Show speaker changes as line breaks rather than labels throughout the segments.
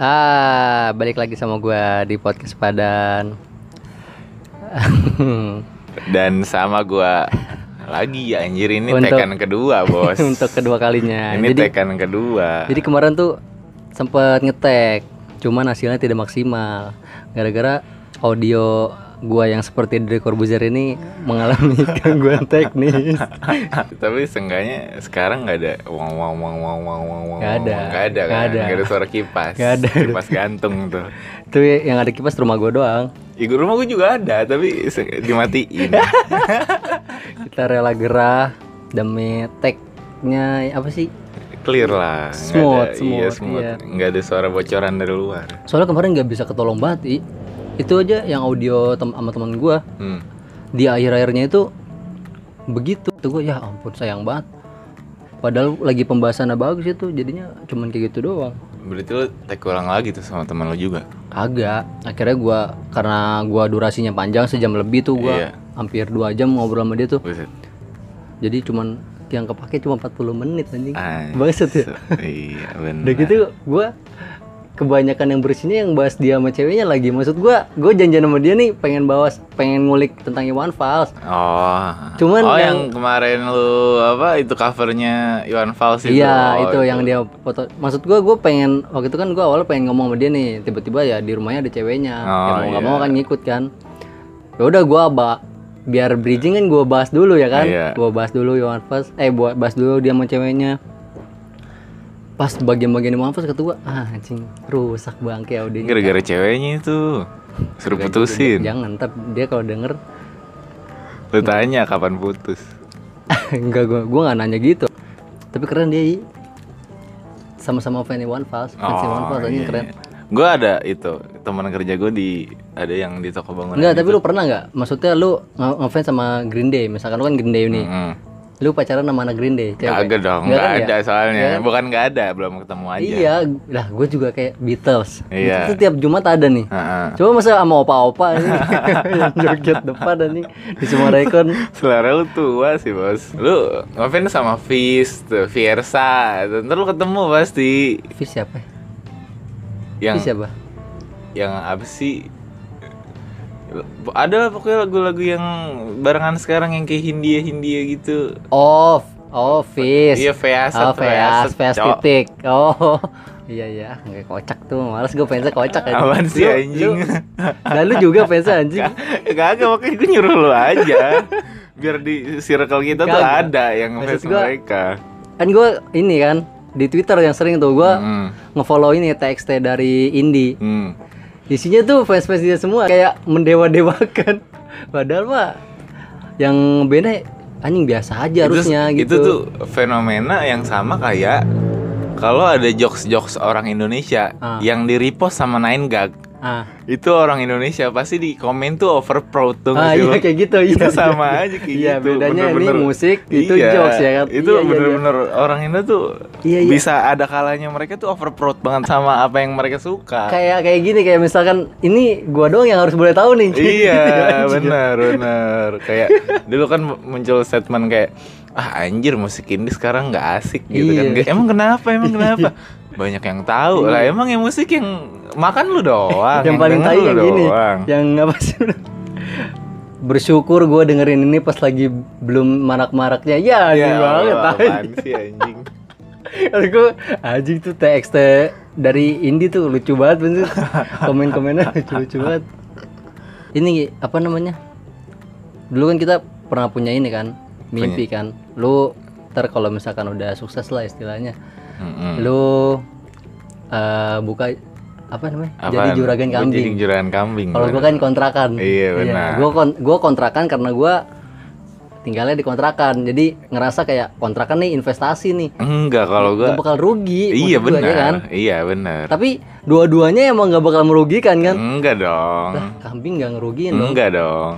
Ah, balik lagi sama gua di podcast Padan.
Dan sama gua lagi ya anjir ini
Untuk-
tekan kedua, Bos.
Untuk kedua kalinya.
ini
jadi,
tekan kedua.
jadi kemarin tuh sempet ngetek, cuman hasilnya tidak maksimal gara-gara audio gua yang seperti dari Corbuzier ini mengalami gangguan teknis.
Tapi seenggaknya sekarang nggak ada wong wong wong wong wong wong wong.
Nggak ada.
Nggak ada kan?
Nggak ada.
Nggak ada suara kipas.
Nggak ada.
Kipas gantung tuh.
Itu yang ada kipas rumah gua doang.
Di rumah gua juga ada, tapi se- dimatiin.
Kita rela gerah demi tag-nya apa sih?
Clear lah. Nggak
Smooth,
ada,
smooth,
iya, smooth.
iya.
Nggak ada suara bocoran dari luar.
Soalnya kemarin nggak bisa ketolong banget, I. Itu aja yang audio tem- sama teman gua.
Hmm.
di akhir-akhirnya itu begitu tuh gue ya ampun sayang banget padahal lagi pembahasannya bagus itu jadinya cuman kayak gitu doang
Berarti lu take ulang lagi tuh sama teman lu juga.
kagak akhirnya gua karena gua durasinya panjang sejam lebih tuh gua
Iya.
hampir dua jam ngobrol sama dia tuh
Buset.
jadi cuman yang kepake cuma 40 menit anjing
Ay,
Bangsat ya?
Iya, benar.
udah gitu gua kebanyakan yang bersihnya yang bahas dia sama ceweknya lagi maksud gua gue janjian sama dia nih pengen bawas pengen ngulik tentang Iwan Fals
Oh.
Cuman
oh,
yang-
yang, kemarin lu apa itu covernya Iwan Fals itu.
Iya
Oh,
itu yang dia foto. Maksud gua gua pengen waktu itu kan gua awalnya pengen ngomong sama dia nih, tiba-tiba ya di rumahnya ada ceweknya.
Oh,
ya mau nggak
iya.
mau kan ngikut kan. Ya udah gua ba biar bridging kan gua bahas dulu ya kan.
Iya.
Gua bahas dulu Iwan Fals, eh buat bahas dulu dia sama ceweknya. Pas bagian-bagian Iwan Fals kata gua, ah anjing rusak bangke audionya.
gara-gara ceweknya itu suruh putusin.
Jangan ntar dia kalau denger
Lu tanya kapan putus.
enggak gua gua nggak nanya gitu. Tapi keren dia I. sama-sama fan Iwan Fals,
Oh,
fans Iwan Fals
iya,
anjing keren.
Gue ada itu teman kerja gue di ada yang di toko bangunan.
Enggak, tapi lu pernah nggak? Maksudnya lu nge- ngefans sama Green Day, misalkan lu kan Green Day nih.
Mm.
Lu pacaran sama anak Green Day, cewek.
Kagak dong,
Nggak
nggak
kan
ada
ya?
soalnya.
Iya kan?
Bukan nggak ada, belum ketemu aja.
Iya, lah gue juga kayak Beatles.
Iya. Hmm.
Itu tiap Jumat ada nih.
Heeh.
Coba masa sama opa-opa ini yang joget depan anjing di semua rekon.
Selera lu tua sih bos Lu ngefans sama Fis, tuh, Fiersa Ntar lu ketemu pasti
Fish siapa? ya? Fish
Yang
siapa?
yang apa sih ada lah pokoknya lagu-lagu yang barengan sekarang yang kayak Hindia Hindia gitu
Oh, oh Fish.
iya Veas
Oh, Veas, Veas titik. Oh. Iya iya, nggak kocak tuh. Males gue fansnya kocak anjing.
Apaan sih,
Lu-
anjing?
Lu, Nah, lu juga fansnya anjing.
kagak makanya gue nyuruh lu aja biar di circle kita tuh
Kagak.
ada yang
Maksud
ngefans
gua-
mereka
kan gue ini kan di Twitter yang sering tuh gue
Mm.
ngefollow ini TXT dari Indi
hmm.
isinya tuh fans-fans dia semua kayak mendewa-dewakan padahal mah yang beda anjing biasa aja
Itu-
harusnya gitu
itu tuh fenomena yang sama kayak kalau ada jokes-jokes orang Indonesia
Ah.
yang di repost sama Nine Gag
ah,
itu orang Indonesia pasti di komen tuh over proud tuh
ah
nggak sih
iya
lu?
kayak gitu
itu
iya,
sama
iya.
aja kayak
Iya,
gitu
bedanya ini musik itu
Iya,
jokes ya kan
itu
Iya, iya, iya.
bener-bener orang Indo tuh
Iya, iya.
bisa ada kalanya mereka tuh over proud banget sama apa yang mereka suka
kayak kayak gini kayak misalkan ini gua doang yang harus boleh tahu nih
iya benar benar kayak dulu kan muncul statement kayak ah anjir musik indie sekarang nggak asik gitu kan
Iya.
Kayak, emang kenapa emang kenapa banyak yang tahu lah emang yang musik yang makan lu doang
yang paling
denger
tai
lu
yang gini
doang.
yang apa sih bersyukur gue dengerin ini pas lagi belum marak-maraknya ya
ya,
anjing banget
Allah,
tai.
apaan sih anjing
Kata gue anjing tuh TXT dari indie tuh lucu banget bener komen-komennya lucu-lucu banget ini Gi, apa namanya dulu kan kita pernah punya ini kan mimpi kan lu ntar kalau misalkan udah sukses lah istilahnya
Mm-mm.
lu eh, buka apa namanya jadi
Apaan?
juragan
Gua
kambing
jadi juragan kambing
Kalau gue kan kontrakan.
Iya, benar.
Gue kontrakan karena gua tinggalnya di kontrakan. Jadi ngerasa kayak kontrakan nih investasi nih.
enggak kalau gue
Gak bakal rugi.
iya
maksud gua,
benar
ya kan?
iya benar
Tapi dua-duanya emang gak bakal merugikan kan?
enggak dong
Lah, kambing gak ngerugiin dong.
enggak dong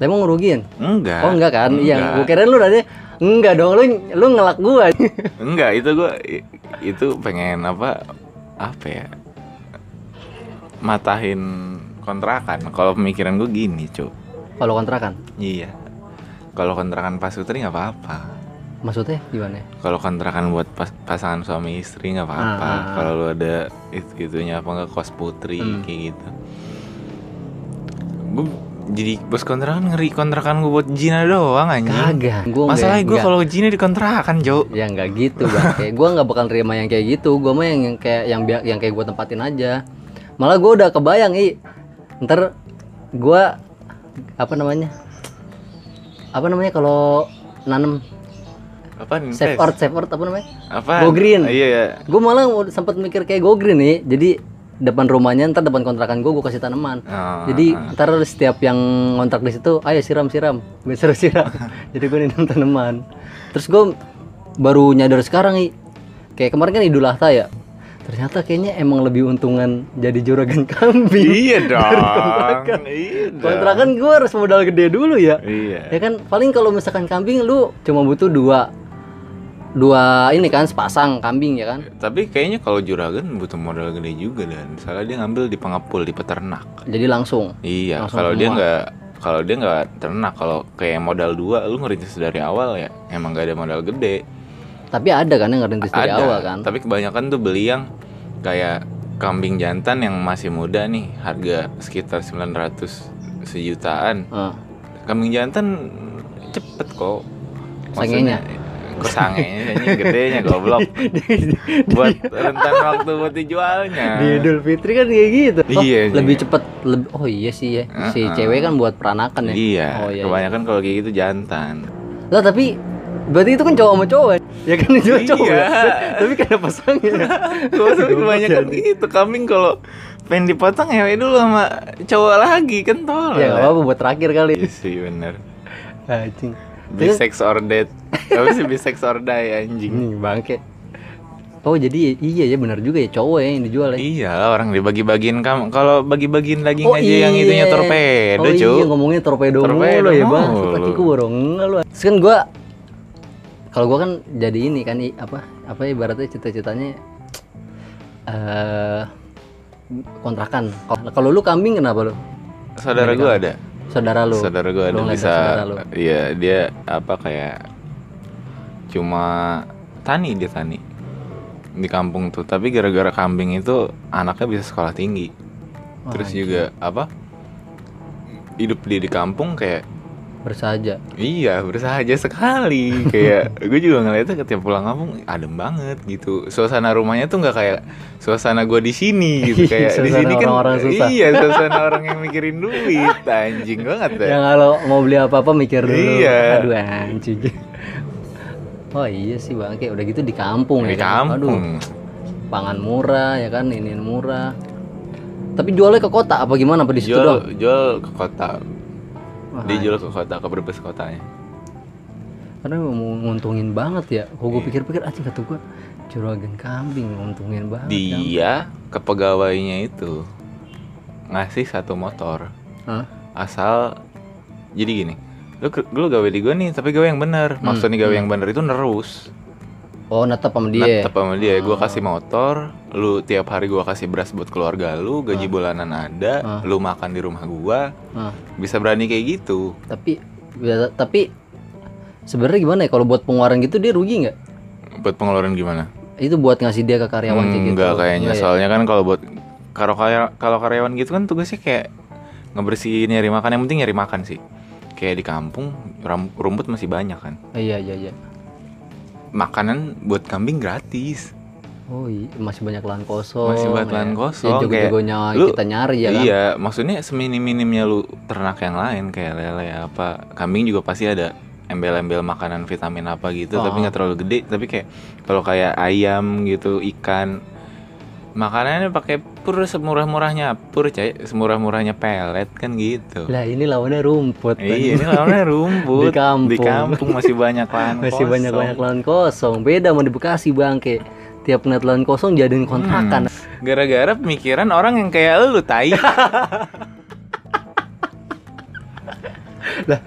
Lah, Emang ngerugiin?
enggak
Oh enggak kan? Iya,
Enggak.
gue keren lu tadi enggak dong lu lu ngelak gua.
Enggak, itu gua i- itu pengen apa apa ya? Matahin kontrakan. Kalau pemikiran gue gini, Cuk.
Kalau kontrakan.
Iya. Kalau kontrakan Pak Sutri nggak apa-apa.
maksudnya gimana ya?
Kalau kontrakan buat pas- pasangan suami istri nggak apa-apa.
Ah, ah, ah.
Kalau lu ada itu itunya apa nggak kos putri
Hmm.
kayak gitu. Gue jadi bos kontrakan ngeri kontrakan gue buat Jina doang anjing.
kagak gua nggak-
Masalahnya gue
nggak-
kalau Jina di kontrakan jauh.
ya nggak gitu bang kayak gue nggak bakal terima yang kayak gitu gue mah yang, yang kayak yang biar yang kayak gue tempatin aja malah gue udah kebayang i ntar gue apa namanya apa namanya kalau nanam
Apa nih?
save earth save earth apa namanya Go
Apa?
green.
Iya ya.
gue malah mau- sempet mikir kayak go green nih jadi depan rumahnya ntar depan kontrakan gue gue kasih tanaman
Ah,
jadi ntar setiap yang kontrak di situ ayo siram siram gue suruh siram jadi gue nanam tanaman terus gue baru nyadar sekarang nih kayak kemarin kan idul adha ya ternyata kayaknya emang lebih untungan jadi juragan kambing kontrakan.
Iya dong. Iya dong.
kontrakan gue harus modal gede dulu ya
Iya.
ya kan paling kalau misalkan kambing lu cuma butuh dua dua ini kan sepasang kambing ya kan
Tapi kayaknya kalau juragan butuh modal gede juga dan salah dia ngambil di pengepul di peternak.
jadi langsung
Iya,
Langsung
kalau
semua.
dia nggak kalau dia nggak ternak kalau kayak modal dua lu ngerintis dari awal ya emang nggak ada modal gede
tapi ada kan yang ngerintis dari
ada
awal kan
tapi kebanyakan tuh beli yang kayak kambing jantan yang masih muda nih harga sekitar 900 sejutaan
Heeh.
kambing jantan cepet kok
Sangenya.
Maksudnya- kok sangenya sangenya gedenya goblok buat rentan waktu buat dijualnya
di Idul Fitri kan kayak gitu. Oh,
Iya, iya.
lebih cepet. leb- oh iya sih ya. Si
Heeh.
cewek kan buat peranakan ya.
iya,
Oh iya. iya.
kebanyakan kalau kayak gitu jantan
Lah tapi berarti itu kan cowok sama cowok. Ya kan juga cowok.
Iya.
ya? tapi kan ada pasangnya.
Gue tuh
Goblok
kebanyakan
jadi.
gitu kambing kalau pengen dipotong ya dulu sama cowok lagi kan tolol.
Ya enggak apa-apa buat terakhir kali.
Iya sih bener.
Anjing. Terus
Bisex or dead. Apa sih bisex or die anjing?
ini bangke. Oh jadi iya ya benar juga ya cowok ya yang dijual ya.
Iya lah, orang dibagi-bagiin kamu kalau bagi-bagiin daging
Oh
aja yang itunya torpedo
oh,
cuy.
iya, ngomongnya torpedo,
Torpedo
mulu ya bang.
mulu.
Tadi gue baru ngeh lu. Terus kan gue, kalau gue kan jadi ini kan i- apa apa ibaratnya cita-citanya eh kontrakan. Kalau- Kalau lu kambing kenapa lu?
Saudara gue ada.
Saudara lu.
Saudara gue ada
Lu nggak
bisa.
saudara lu.
Iya dia apa kayak cuma tani dia tani di kampung tuh tapi gara-gara kambing itu anaknya bisa sekolah tinggi
Wah,
terus juga apa hidup dia di kampung kayak
Bersaja.
iya bersahaja sekali kayak gue juga ngeliatnya ketika pulang kampung adem banget gitu suasana rumahnya tuh nggak kayak suasana gue di sini gitu kayak di
Suasana
sini kan
orang-orang susah.
iya suasana orang yang mikirin duit anjing banget ya
Yang kalau mau beli apa-apa mikir dulu.
Iya.
Aduh anjing. Oh iya sih bang, kayak udah gitu di kampung
di
ya. kan? Aduh,
kampung
pangan murah ya kan ini murah tapi jualnya ke kota apa gimana apa di situ doang
jual jual ke
Wah,
kota
iya. Nah,
dia jual ke kota ke Brebes kotanya
karena mau nguntungin banget ya kok
Iya.
gue pikir-pikir aja kata gue juragan kambing nguntungin banget kan.
dia ke pegawainya itu ngasih satu motor
Hah?
asal jadi gini lu ke- lu gawe di gua nih tapi gawe yang bener
Hmm,
maksudnya gawe yang bener itu nerus
oh netap sama dia
tetap sama dia
Ah.
gua kasih motor lu tiap hari gua kasih beras buat keluarga lu
Ah.
gaji bulanan ada lu makan di rumah gua
Hah,
bisa berani kayak gitu
tapi ya, tapi sebenarnya gimana ya kalau buat pengeluaran gitu dia rugi nggak
buat pengeluaran gimana
itu buat ngasih dia ke karyawan kayak gitu
enggak kayaknya
Nggak ya?
soalnya kan kalau buat kalau karya- kalau karyawan gitu kan tugasnya kayak ngebersihin nyari makan yang penting nyari makan sih kayak di kampung ram- rumput masih banyak kan
iya iya iya
makanan buat kambing gratis
oh iya masih banyak lahan kosong
Masih banyak
ya.
lahan
Ya,
kosong,
jago-jagonya
kayak lu-
kita nyari ya kan
iya maksudnya seminim-minimnya lu ternak yang lain kayak lele apa kambing juga pasti ada embel-embel makanan vitamin apa gitu
Ah.
tapi nggak terlalu gede tapi kayak kalau kayak ayam gitu ikan makanannya pakai pur semurah-murahnya pur cai semurah-murahnya pelet kan gitu
lah ini lawannya rumput
Iya, ini lawannya rumput.
Di kampung.
Di kampung masih banyak lahan
Masih
kosong.
banyak-banyak lahan kosong. Beda sama di Bekasi, Bang, Ke. Tiap ngeliat lahan kosong jadiin kontrakan.
Hmm. Gara-gara pemikiran orang yang kayak lu tai.
Lah,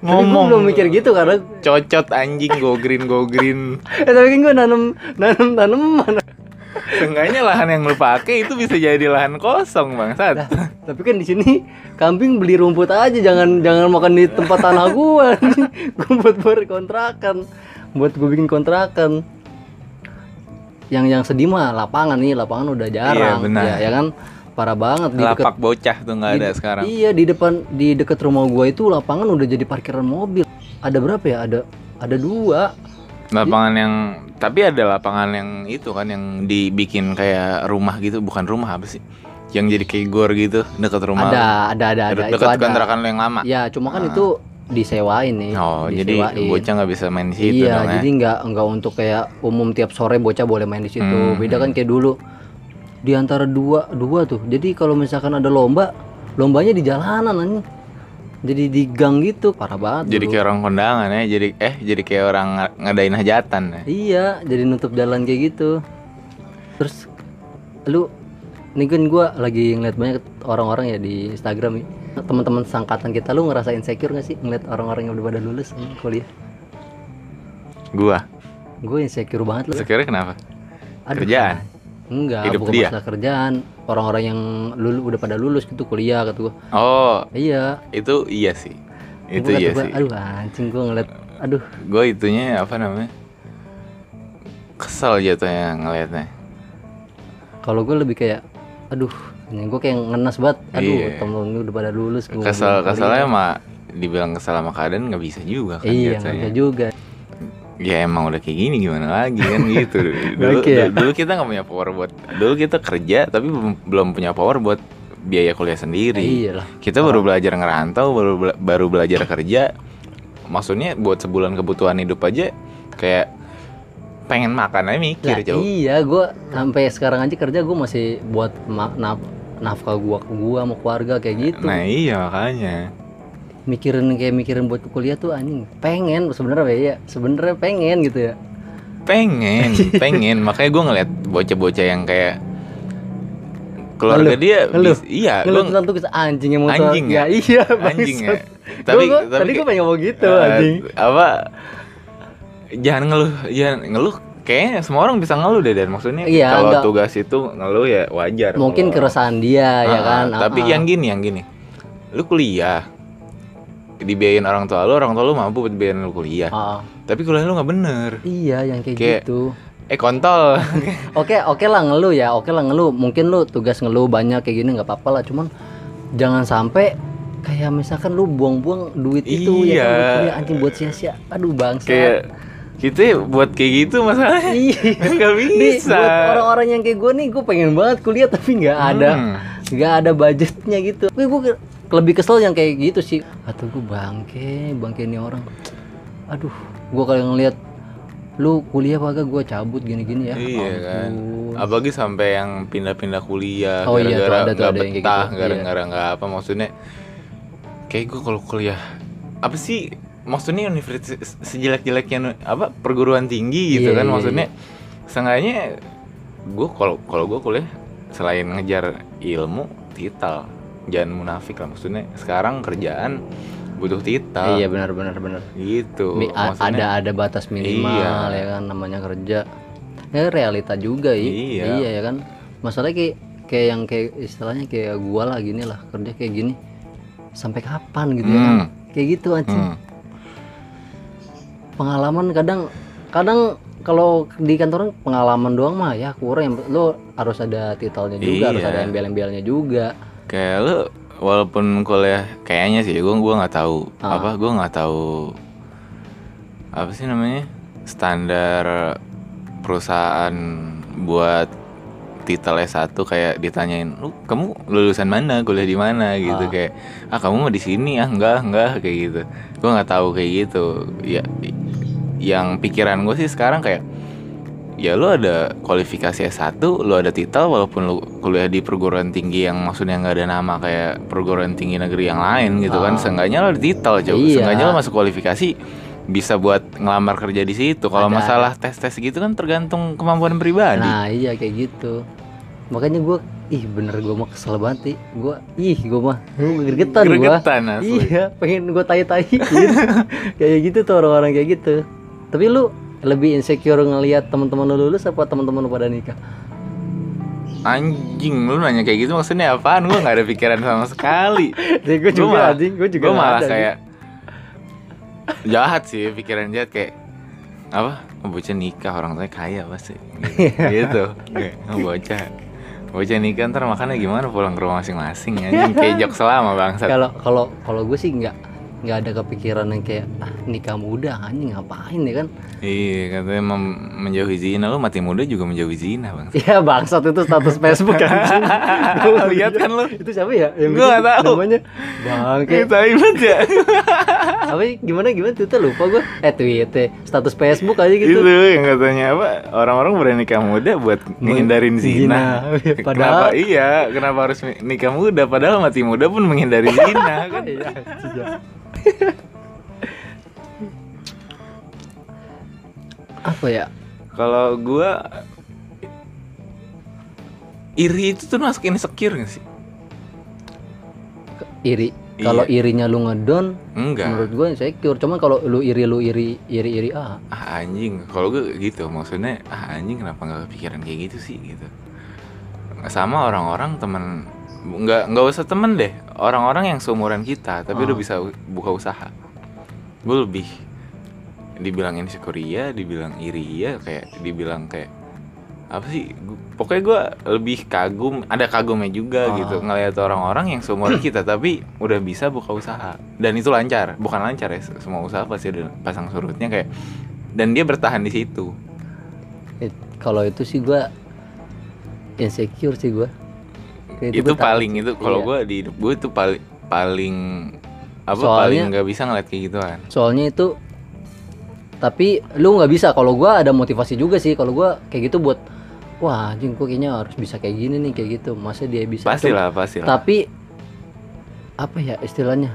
ngomong
belum mikir gitu karena
cocot anjing go green go green.
eh tapi kan gue nanam nanam tanaman.
Seenggaknya lahan yang lu pakai itu bisa jadi lahan kosong, Bang.
Lah, tapi kan di sini kambing beli rumput aja, jangan jangan makan di tempat tanah gua. Gua buat buat kontrakan. buat gue bikin kontrakan yang yang sedih mah lapangan nih lapangan udah jarang
Iya, benar.
ya, ya kan parah banget di dekat
Lapak bocah tuh nggak ada
di-
sekarang.
Iya, di depan di dekat rumah gua itu lapangan udah jadi parkiran mobil. Ada berapa ya? Ada ada dua.
Lapangan yang tapi ada lapangan yang itu kan yang dibikin kayak rumah gitu, bukan rumah apa sih? Yang jadi kayak gor gitu dekat rumah.
Ada, ada, ada, ada. Iya, Itu
Dekat dekat
ada.
kontrakan lo yang lama.
Ya, cuma kan
Ah.
itu disewain nih.
Oh, jadi
disewain.
bocah nggak bisa main di situ
Iya,
dong ya.
jadi nggak nggak untuk kayak umum tiap sore bocah boleh main di situ.
Hmm.
Beda kan kayak dulu di antara dua dua tuh. Jadi kalau misalkan ada lomba, lombanya di jalanan anjing. Jadi di gang gitu, parah banget.
Jadi
dulu.
kayak orang kondangan ya, jadi eh jadi kayak orang nga- ngadain hajatan ya.
Iya, jadi nutup jalan kayak gitu. Terus lu nih kan gua lagi ngeliat banyak orang-orang ya di Instagram ya. Teman-teman sangkatan kita lu ngerasa insecure gak sih ngeliat orang-orang yang udah pada lulus hmm, kuliah?
Gua.
Gue insecure banget lu.
Sekiranya kenapa?
Aduh,
Kerjaan?
Enggak,
Hidup
bukan
dia?
masalah kerjaan. Orang-orang yang lulu udah pada lulus gitu kuliah kata gua.
Oh,
Iya.
itu iya sih. Itu
Gua kata
iya
gua,
sih.
Aduh anjing gua ngeliat aduh
Gue itunya apa namanya? Kesel jatuhnya ngelihatnya.
kalau gue lebih kayak aduh gue kayak ngenes banget aduh
Iya.
temen lu udah pada lulus gua
Kesel
belum kuliah.
keselnya mah dibilang kesel sama keadaan nggak bisa juga kan
iya nggak
jatuhnya.
bisa juga
Ya emang udah kayak gini gimana lagi kan gitu. Dulu,
Oke ya.
du- dulu kita nggak punya power buat. Dulu kita kerja tapi belum- belum punya power buat biaya kuliah sendiri.
Iya lah.
kita baru belajar ngerantau baru bela- baru belajar kerja maksudnya buat sebulan kebutuhan hidup aja kayak pengen makan aja mikir
Lah,
jauh
iya, gue sampai sekarang aja kerja gue masih buat ma- naf- nafkah gua gua sama keluarga kayak gitu.
nah iya makanya
Mikirin kayak mikirin buat kuliah tuh anjing. Pengen sebenarnya Pak, ya, sebenarnya pengen gitu ya.
pengen pengen makanya gue ngeliat bocah-bocah yang kayak keluarga
Ngeluh,
dia
ngeluh,
bis- iya
Lu
gue
tentu kita anjing yang motor.
Anjing ya?
iya,
anjing ya
bangsat.
tapi
Gua- gua-
tapi
tadi gue pengen ngomong gitu
eh,
anjing.
apa jangan ngeluh jangan ngeluh kayaknya semua orang bisa ngeluh deh dan maksudnya
Iya,
kalau
enggak.
tugas itu ngeluh ya wajar
Mungkin
kalau-
keresahan dia ya
Ah,
kan.
Tapi
ah, ah.
yang gini, yang gini. Lu kuliah dibiayain orang tua lu, orang tua lu mampu buat biayain lu kuliah.
Ah, ah.
Tapi kuliah lu nggak bener.
iya yang kayak,
Kayak-
gitu.
Eh kontol.
Oke, oke lah ngeluh ya. Oke lah ngeluh. Mungkin lu tugas ngeluh banyak kayak gini nggak apa-apa lah. Cuman jangan sampai kayak misalkan lu buang-buang duit itu ya kan
Iya.
buat kuliah, anjing buat sia-sia. Aduh bangsa.
kayak kita buat kayak gitu masalahnya
Iya.
nggak
Nih,
bisa.
buat orang-orang yang kayak gue nih, gue pengen banget kuliah tapi nggak ada,
Hmm.
nggak ada budgetnya gitu. Gue gue ke- lebih kesel yang kayak gitu sih. Atau gue bangke, bangke ini orang. Aduh, gue kalau ngeliat lu kuliah apa kagak gue cabut gini-gini ya.
Iya kan.
Ampun.
Apalagi sampai yang pindah-pindah kuliah
Oh iya, tuh ada,
gara-gara
tuh
nggak
ada yang kayak
betah,
gitu.
gara-gara nggak apa maksudnya. Kayak gue kalau kuliah apa sih maksudnya universitas sejelek-jeleknya nu- apa perguruan tinggi gitu
Iya,
kan
iya,
maksudnya seenggaknya gue kalau kalau gue kuliah selain ngejar ilmu titel jangan munafik lah maksudnya sekarang kerjaan butuh titel
Iya benar-benar benar.
gitu
Mi- a-
maksudnya
ada ada batas minimal
Iya.
ya kan namanya kerja ya realita juga ya
Iya.
ya kan masalahnya kayak kayak yang kayak istilahnya kayak gua lah gini lah kerja kayak gini sampai kapan gitu ya kan
Hmm.
kayak gitu aja
Hmm.
pengalaman kadang kadang kalau di kantoran pengalaman doang mah ya kurang lo harus ada titelnya juga harus
Iya.
ada embel-embelnya juga
Kayak lu walaupun kuliah kayaknya sih gua gua nggak tahu
Ah.
apa gua nggak tahu apa sih namanya standar perusahaan buat titel S1 kayak ditanyain lu kamu lulusan mana kuliah di mana gitu
Ah.
kayak ah kamu mau di sini ah enggak enggak kayak gitu gua nggak tahu kayak gitu ya i- yang pikiran gue sih sekarang kayak ya lu ada kualifikasi S1, lu ada titel walaupun lu kuliah di perguruan tinggi yang maksudnya nggak ada nama kayak perguruan tinggi negeri yang lain gitu kan.
Ah.
Seenggaknya lu ada titel, coba.
Iya.
Seenggaknya lu masuk kualifikasi bisa buat ngelamar kerja di situ. Kalau
Ada.
masalah tes-tes gitu kan tergantung kemampuan pribadi.
Nah iya kayak gitu Makanya gue Ih bener gue mah kesel banget Gue Ih gue mah Gue gergetan gue
Gregetan asli.
Iya pengen gue tai-tai gitu. Kayak gitu tuh orang-orang kayak gitu Tapi lu lebih insecure ngelihat teman-teman lu lulus apa teman-teman lu pada nikah?
Anjing, lu nanya kayak gitu maksudnya apaan? Gua nggak ada pikiran sama sekali.
Ya, gue juga
malah-
anjing, gue juga
gua
nggak
malah
ada,
kayak jahat sih pikiran jahat kayak apa Oh, bocah nikah orang tuanya kaya pasti gitu bocah bocah nikah ntar makannya gimana pulang ke rumah masing-masing anjing kayak jok selama bangsat
kalau kalau kalau gue sih nggak nggak ada kepikiran yang kayak ah, nikah muda anjing ngapain ya kan
iya katanya mem- menjauhi zina lu mati muda juga menjauhi zina bang
ya bangsat itu status Facebook anjing Gua
Lihat kan lu?
itu siapa ya Yang
Gua nggak
bikin
tahu.
namanya bangke
kita ibat ya
apa sih? gimana gimana Twitter lupa gue eh Twitter status Facebook aja
itu
gitu
yang katanya apa orang-orang berani nikah muda buat menghindarin zina,
Zina.
kenapa
Padahal-
iya kenapa harus mi- nikah muda padahal mati muda pun menghindari zina kan
Iya, anjing, ya. apa ya
Kalau gua iri itu tuh masuk insecure gak sih?
iri kalau
Iya.
irinya lu ngedon
Enggak.
menurut gue insecure cuman kalau lu iri lu iri iri iri ah
Ah anjing, kalau gue gitu maksudnya ah anjing kenapa nggak kepikiran kayak gitu sih gitu. Sama orang-orang temen nggak nggak usah temen deh orang-orang yang seumuran kita tapi udah bisa u- buka usaha. Gue lebih dibilang insecure iya, dibilang iri iya, kayak dibilang kayak apa sih? Gu- Pokoknya gue lebih kagum, ada kagumnya juga
Ah.
gitu ngelihat orang-orang yang seumuran kita tapi udah bisa buka usaha dan itu lancar, bukan lancar ya se- semua usaha pasti ada pasang surutnya kayak dan dia bertahan di situ.
It- kalau itu sih gue insecure sih gitu gue
Itu, paling itu kalau
Iya.
gue di hidup gue itu paling paling apa
Soalnya-
paling nggak bisa ngeliat kayak gitu, kan. gituan.
soalnya itu tapi lu nggak bisa kalau gua ada motivasi juga sih kalau gua kayak gitu buat wah anjing gua kayaknya harus bisa kayak gini nih kayak gitu masa dia bisa
Pastilah, pastilah.
tapi apa ya istilahnya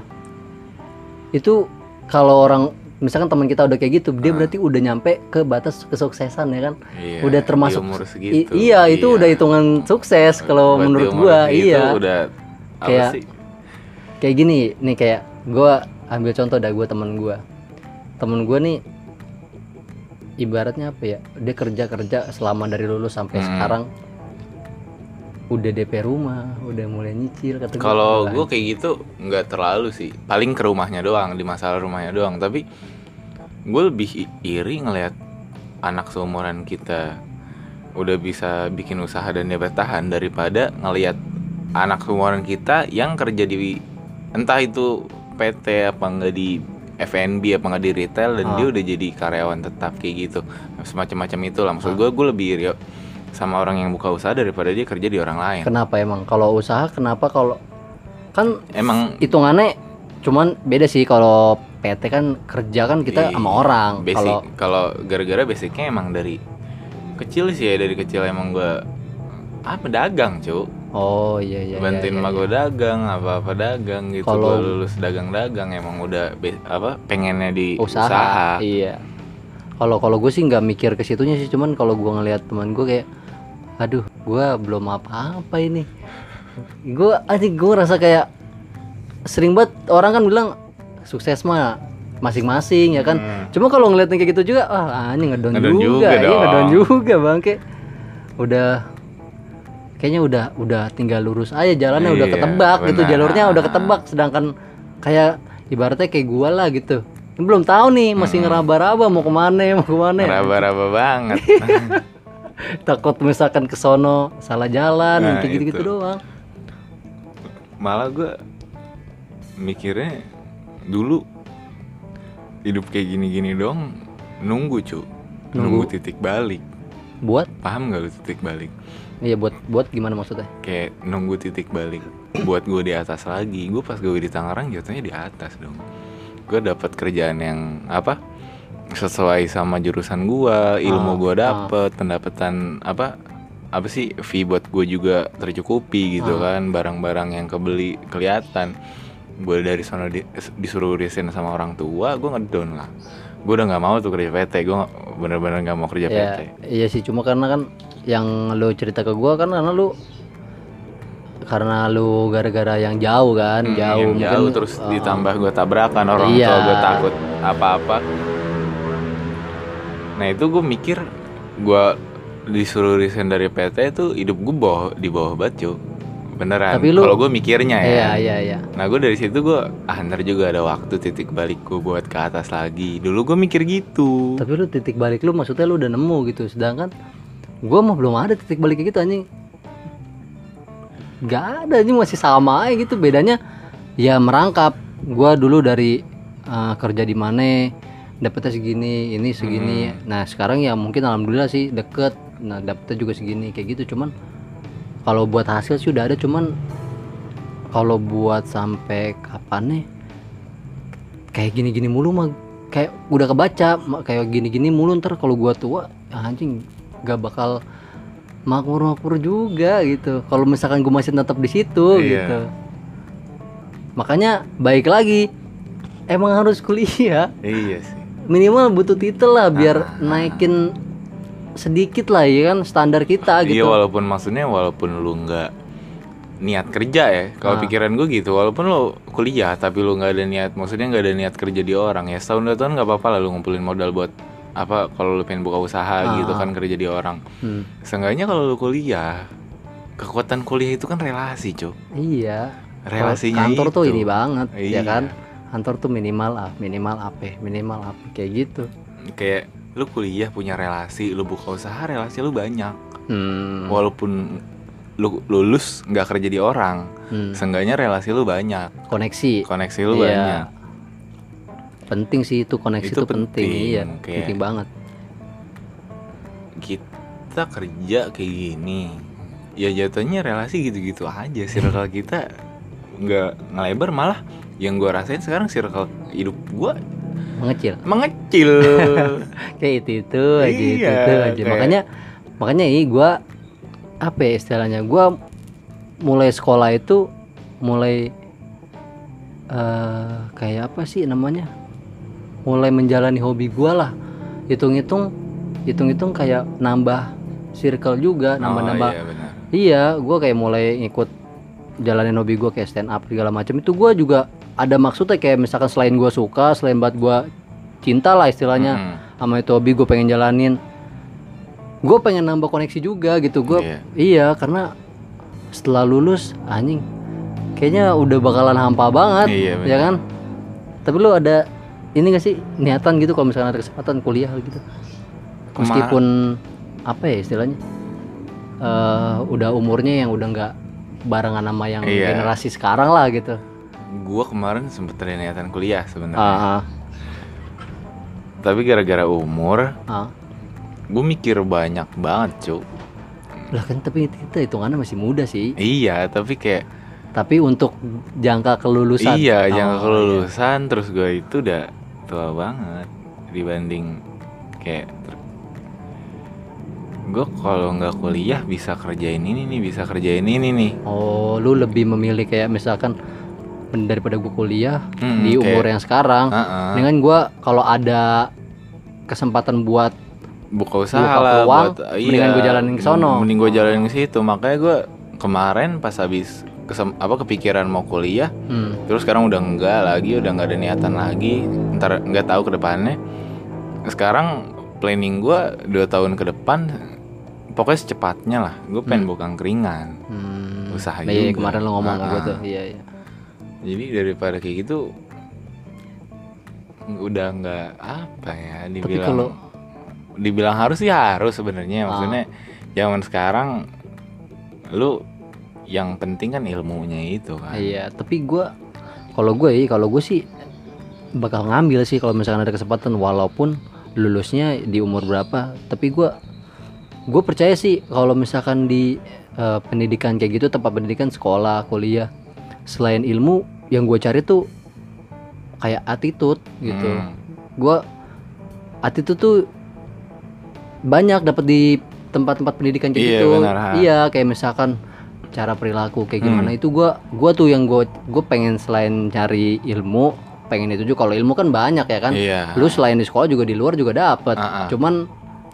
itu kalau orang misalkan teman kita udah kayak gitu
Ah.
dia berarti udah nyampe ke batas kesuksesan ya kan
Iya,
udah
di
termasuk I-
umur segitu.
iya itu udah hitungan sukses kalau
Buat di
menurut
umur
gua
segitu
iya
Udah apa
Kayak-
sih?
kayak gini nih kayak gua ambil contoh dah gua temen gua temen gua nih ibaratnya apa ya dia kerja kerja selama dari lulus sampai
Hmm.
sekarang udah DP rumah udah mulai nyicil kata gua,
Kalau
"Wah,
gue kayak gitu nggak terlalu sih, paling ke rumahnya doang, di masalah rumahnya doang. Tapi gue lebih i- iri ngelihat anak seumuran kita udah bisa bikin usaha dan dia bertahan daripada ngelihat anak seumuran kita yang kerja di entah itu PT apa enggak di F&B apa enggak di retail dan
Ah.
dia udah jadi karyawan tetap kayak gitu semacam-macam itulah maksud
Ah.
gue gue lebih iri sama orang yang buka usaha daripada dia kerja di orang lain
Kenapa emang? Kalau usaha kenapa kalau kan
emang
hitungannya cuman beda sih kalau PT kan kerja kan kita
Iya,
sama orang.
basic
Kalau
kalau gara-gara basicnya emang dari kecil sih ya dari kecil emang gua apa dagang cu
oh iya iya. iya,
bantuin
iya,
emak
iya.
gua dagang apa apa dagang gitu
Kalau-
gua lulus dagang-dagang emang udah be- apa pengennya di
usaha.
usaha,
Iya. Kalau kalau gue sih nggak mikir ke situnya sih, cuman kalau gue ngelihat teman gue kayak, aduh, gue belum apa-apa ini. Gue anjing gue rasa kayak sering banget orang kan bilang sukses mah masing-masing ya kan. Cuma kalau ngeliatnya kayak gitu juga, ah anjing ngedon,
Ngedon
juga,
Hmm. juga
iya
dong.
ngedon juga bang kayak udah kayaknya udah udah tinggal lurus aja jalannya udah
Iya,
ketebak gitu
benar.
jalurnya udah ketebak sedangkan kayak ibaratnya kayak gua lah gitu Ini belum tahu nih masih
Hmm.
ngeraba-raba mau kemana mau kemana
raba-raba banget
takut misalkan ke sono salah jalan
Nah,
kayak gitu-gitu
itu.
doang
malah gua mikirnya dulu hidup kayak gini-gini dong nunggu cu nunggu titik balik
buat
paham nggak lu titik balik
iya buat buat gimana maksudnya
kayak nunggu titik balik buat gue di atas lagi gue pas gue di Tangerang jatuhnya di atas dong gue dapat kerjaan yang apa sesuai sama jurusan gue ilmu
Ah,
gue
ah.
dapet pendapatan apa apa sih fee buat gue juga tercukupi gitu
Ah.
kan barang-barang yang kebeli kelihatan gue dari sana di- disuruh resign sama orang tua gue ngedown lah gue udah nggak mau tuh kerja PT gue bener-bener nggak mau kerja
ya
PT
iya sih cuma karena kan yang lu cerita ke gua kan karena lu karena lu gara-gara yang jauh kan
Hmm,
jauh
yang
mungkin,
jauh terus
uh,
ditambah gue tabrakan orang
Iya.
tua gue takut apa-apa nah itu gue mikir gue disuruh resign dari PT itu hidup gue bawah, di bawah batu beneran
Tapi lu-
kalau gue mikirnya ya
Iya, iya, iya.
nah gue dari situ gue ah ntar juga ada waktu titik balik gue buat ke atas lagi dulu gue mikir gitu
Tapi lu titik balik lu maksudnya lu udah nemu gitu. Sedangkan gua mah belum ada titik baliknya gitu anjing. Gak ada anjing masih sama aja gitu. Bedanya ya merangkap. Gua dulu dari eh, kerja di mana dapetnya segini, ini segini. Nah, sekarang ya mungkin alhamdulillah sih deket. Nah, dapetnya juga segini kayak gitu. Cuman kalau buat hasil sih udah ada cuman kalau buat sampai kapan nih kayak gini-gini mulu mah kayak udah kebaca ma- kayak gini-gini mulu ntar kalau gua tua ya anjing gak bakal makmur-makmur juga gitu kalau misalkan gua masih tetap di situ
Iya.
gitu makanya baik lagi emang harus kuliah
iya sih
minimal butuh titel lah
Ah.
biar naikin sedikit lah ya kan standar kita
Iya
gitu
walaupun maksudnya walaupun lu nggak niat kerja ya kalau
Ah.
pikiran gue gitu walaupun lu kuliah tapi lu nggak ada niat maksudnya nggak ada niat kerja di orang ya setahun dua tahun nggak apa-apa lah lu ngumpulin modal buat apa kalau lu pengen buka usaha gitu
Ah.
kan kerja di orang
Hmm,
seenggaknya kalau lu kuliah kekuatan kuliah itu kan relasi cok
iya Kalau
relasinya
kantor
itu.
tuh ini banget
Iya.
ya kan kantor tuh minimal ah minimal apa minimal apa kayak gitu
kayak lu kuliah punya relasi lu buka usaha relasi lu banyak
hmm,
walaupun lu lulus nggak kerja di orang
hmm,
seenggaknya relasi lu banyak
koneksi
koneksi
Iya.
lu banyak
penting sih itu koneksi itu,
Itu
penting.
penting,
iya
kayak-
penting banget
kita kerja kayak gini ya jatuhnya relasi gitu-gitu aja circle kita nggak ngelebar malah yang gua rasain sekarang circle hidup gua
mengecil
mengecil
kayak itu itu aja itu
Iya,
itu aja
kayak-
makanya makanya ini gue apa ya istilahnya gue mulai sekolah itu mulai eh kayak apa sih namanya mulai menjalani hobi gue lah hitung-hitung hitung-hitung kayak nambah circle juga nambah-nambah
Oh, iya, benar.
Iya, gua kayak mulai ikut jalanin hobi gua kayak stand up segala macam itu gua juga ada maksudnya kayak misalkan selain gua suka, selain buat gua cinta lah istilahnya
Mm-mm.
sama itu hobi gua pengen jalanin. Gua pengen nambah koneksi juga gitu gua.
Iya.
Iya, karena setelah lulus anjing kayaknya udah bakalan hampa banget,
Iya,
ya
bener.
kan? Tapi lu ada ini gak sih niatan gitu kalau misalkan ada kesempatan kuliah gitu?
Kema-
meskipun apa ya istilahnya eh, udah umurnya yang udah nggak barengan sama yang
Iya.
generasi sekarang lah gitu
gua kemarin sempet ada niatan kuliah sebenarnya
ah
tapi gara-gara umur
ah, ah.
gue mikir banyak banget cuk
lah kan tapi kita hitungannya masih muda sih
iya tapi kayak
tapi untuk jangka kelulusan
Iya,
Oh,
jangan
iya.
kelulusan terus gue itu udah tua banget dibanding kayak ter- gue kalau nggak kuliah bisa kerjain ini nih, bisa kerjain ini nih.
oh lu lebih memilih kayak misalkan men- daripada gua kuliah
Mm,
di
kayak- Ah,
umur yang sekarang
Heeh.
dengan gua kalau ada kesempatan buat
buka usaha
Buka
lah
peluang,
buat iya,
mendingan gue jalanin ke sono.
mending gue jalanin ke situ makanya gue kemarin pas habis kesem- apa kepikiran mau kuliah
hmm,
terus sekarang udah enggak lagi udah nggak ada niatan lagi ntar nggak tahu ke depannya sekarang planning gua dua tahun ke depan pokoknya secepatnya lah gue pengen buka angkringan
hmm.
Usaha
Iya,
juga.
kemarin lu ngomong sama gua
Ah,
tuh iya iya
jadi daripada kayak gitu udah nggak apa ya dibilang
kalau- Ah.
dibilang harus sih harus sebenarnya maksudnya zaman sekarang lu yang penting kan ilmunya itu kan
Iya, tapi gua kalau gue ya, kalau gue sih bakal ngambil sih kalau misalkan ada kesempatan walaupun lulusnya di umur berapa, tapi gua gue percaya sih kalau misalkan di eh, pendidikan kayak gitu tempat pendidikan sekolah, kuliah selain ilmu yang gue cari tuh kayak attitude gitu.
Hmm.
Gua attitude tuh banyak dapat di tempat-tempat pendidikan kayak
Iya,
gitu.
benar, ha.
Iya, kayak misalkan cara perilaku kayak
Hmm.
gimana itu gua gua tuh yang gua gua pengen selain cari ilmu, pengen itu juga kalau ilmu kan banyak ya kan.
iya
Lu selain di sekolah juga di luar juga dapat.
Ah, ah.
Cuman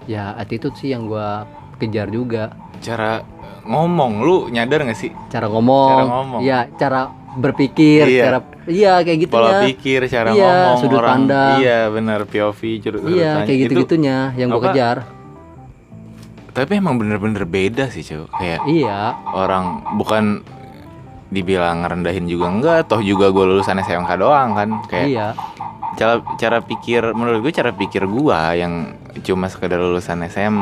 ya attitude sih yang gua kejar juga.
cara ngomong lu nyadar gak sih
Cara ngomong.
Cara ngomong.
Iya, cara berpikir,
Iya.
cara iya kayak gitu
pola
ya.
pikir cara
Iya,
ngomong
sudut
orang
pandang.
iya benar POV sudut sudut
Iya,
pandang.
kayak
Itu-
gitu-gitunya yang gua
apa?
kejar.
tapi emang bener-bener beda sih cuy kayak
Iya.
orang bukan dibilang ngerendahin juga enggak toh juga gue lulusan SMK doang kan kayak
iya
cara cara pikir menurut gue cara pikir gue yang cuma sekedar lulusan SM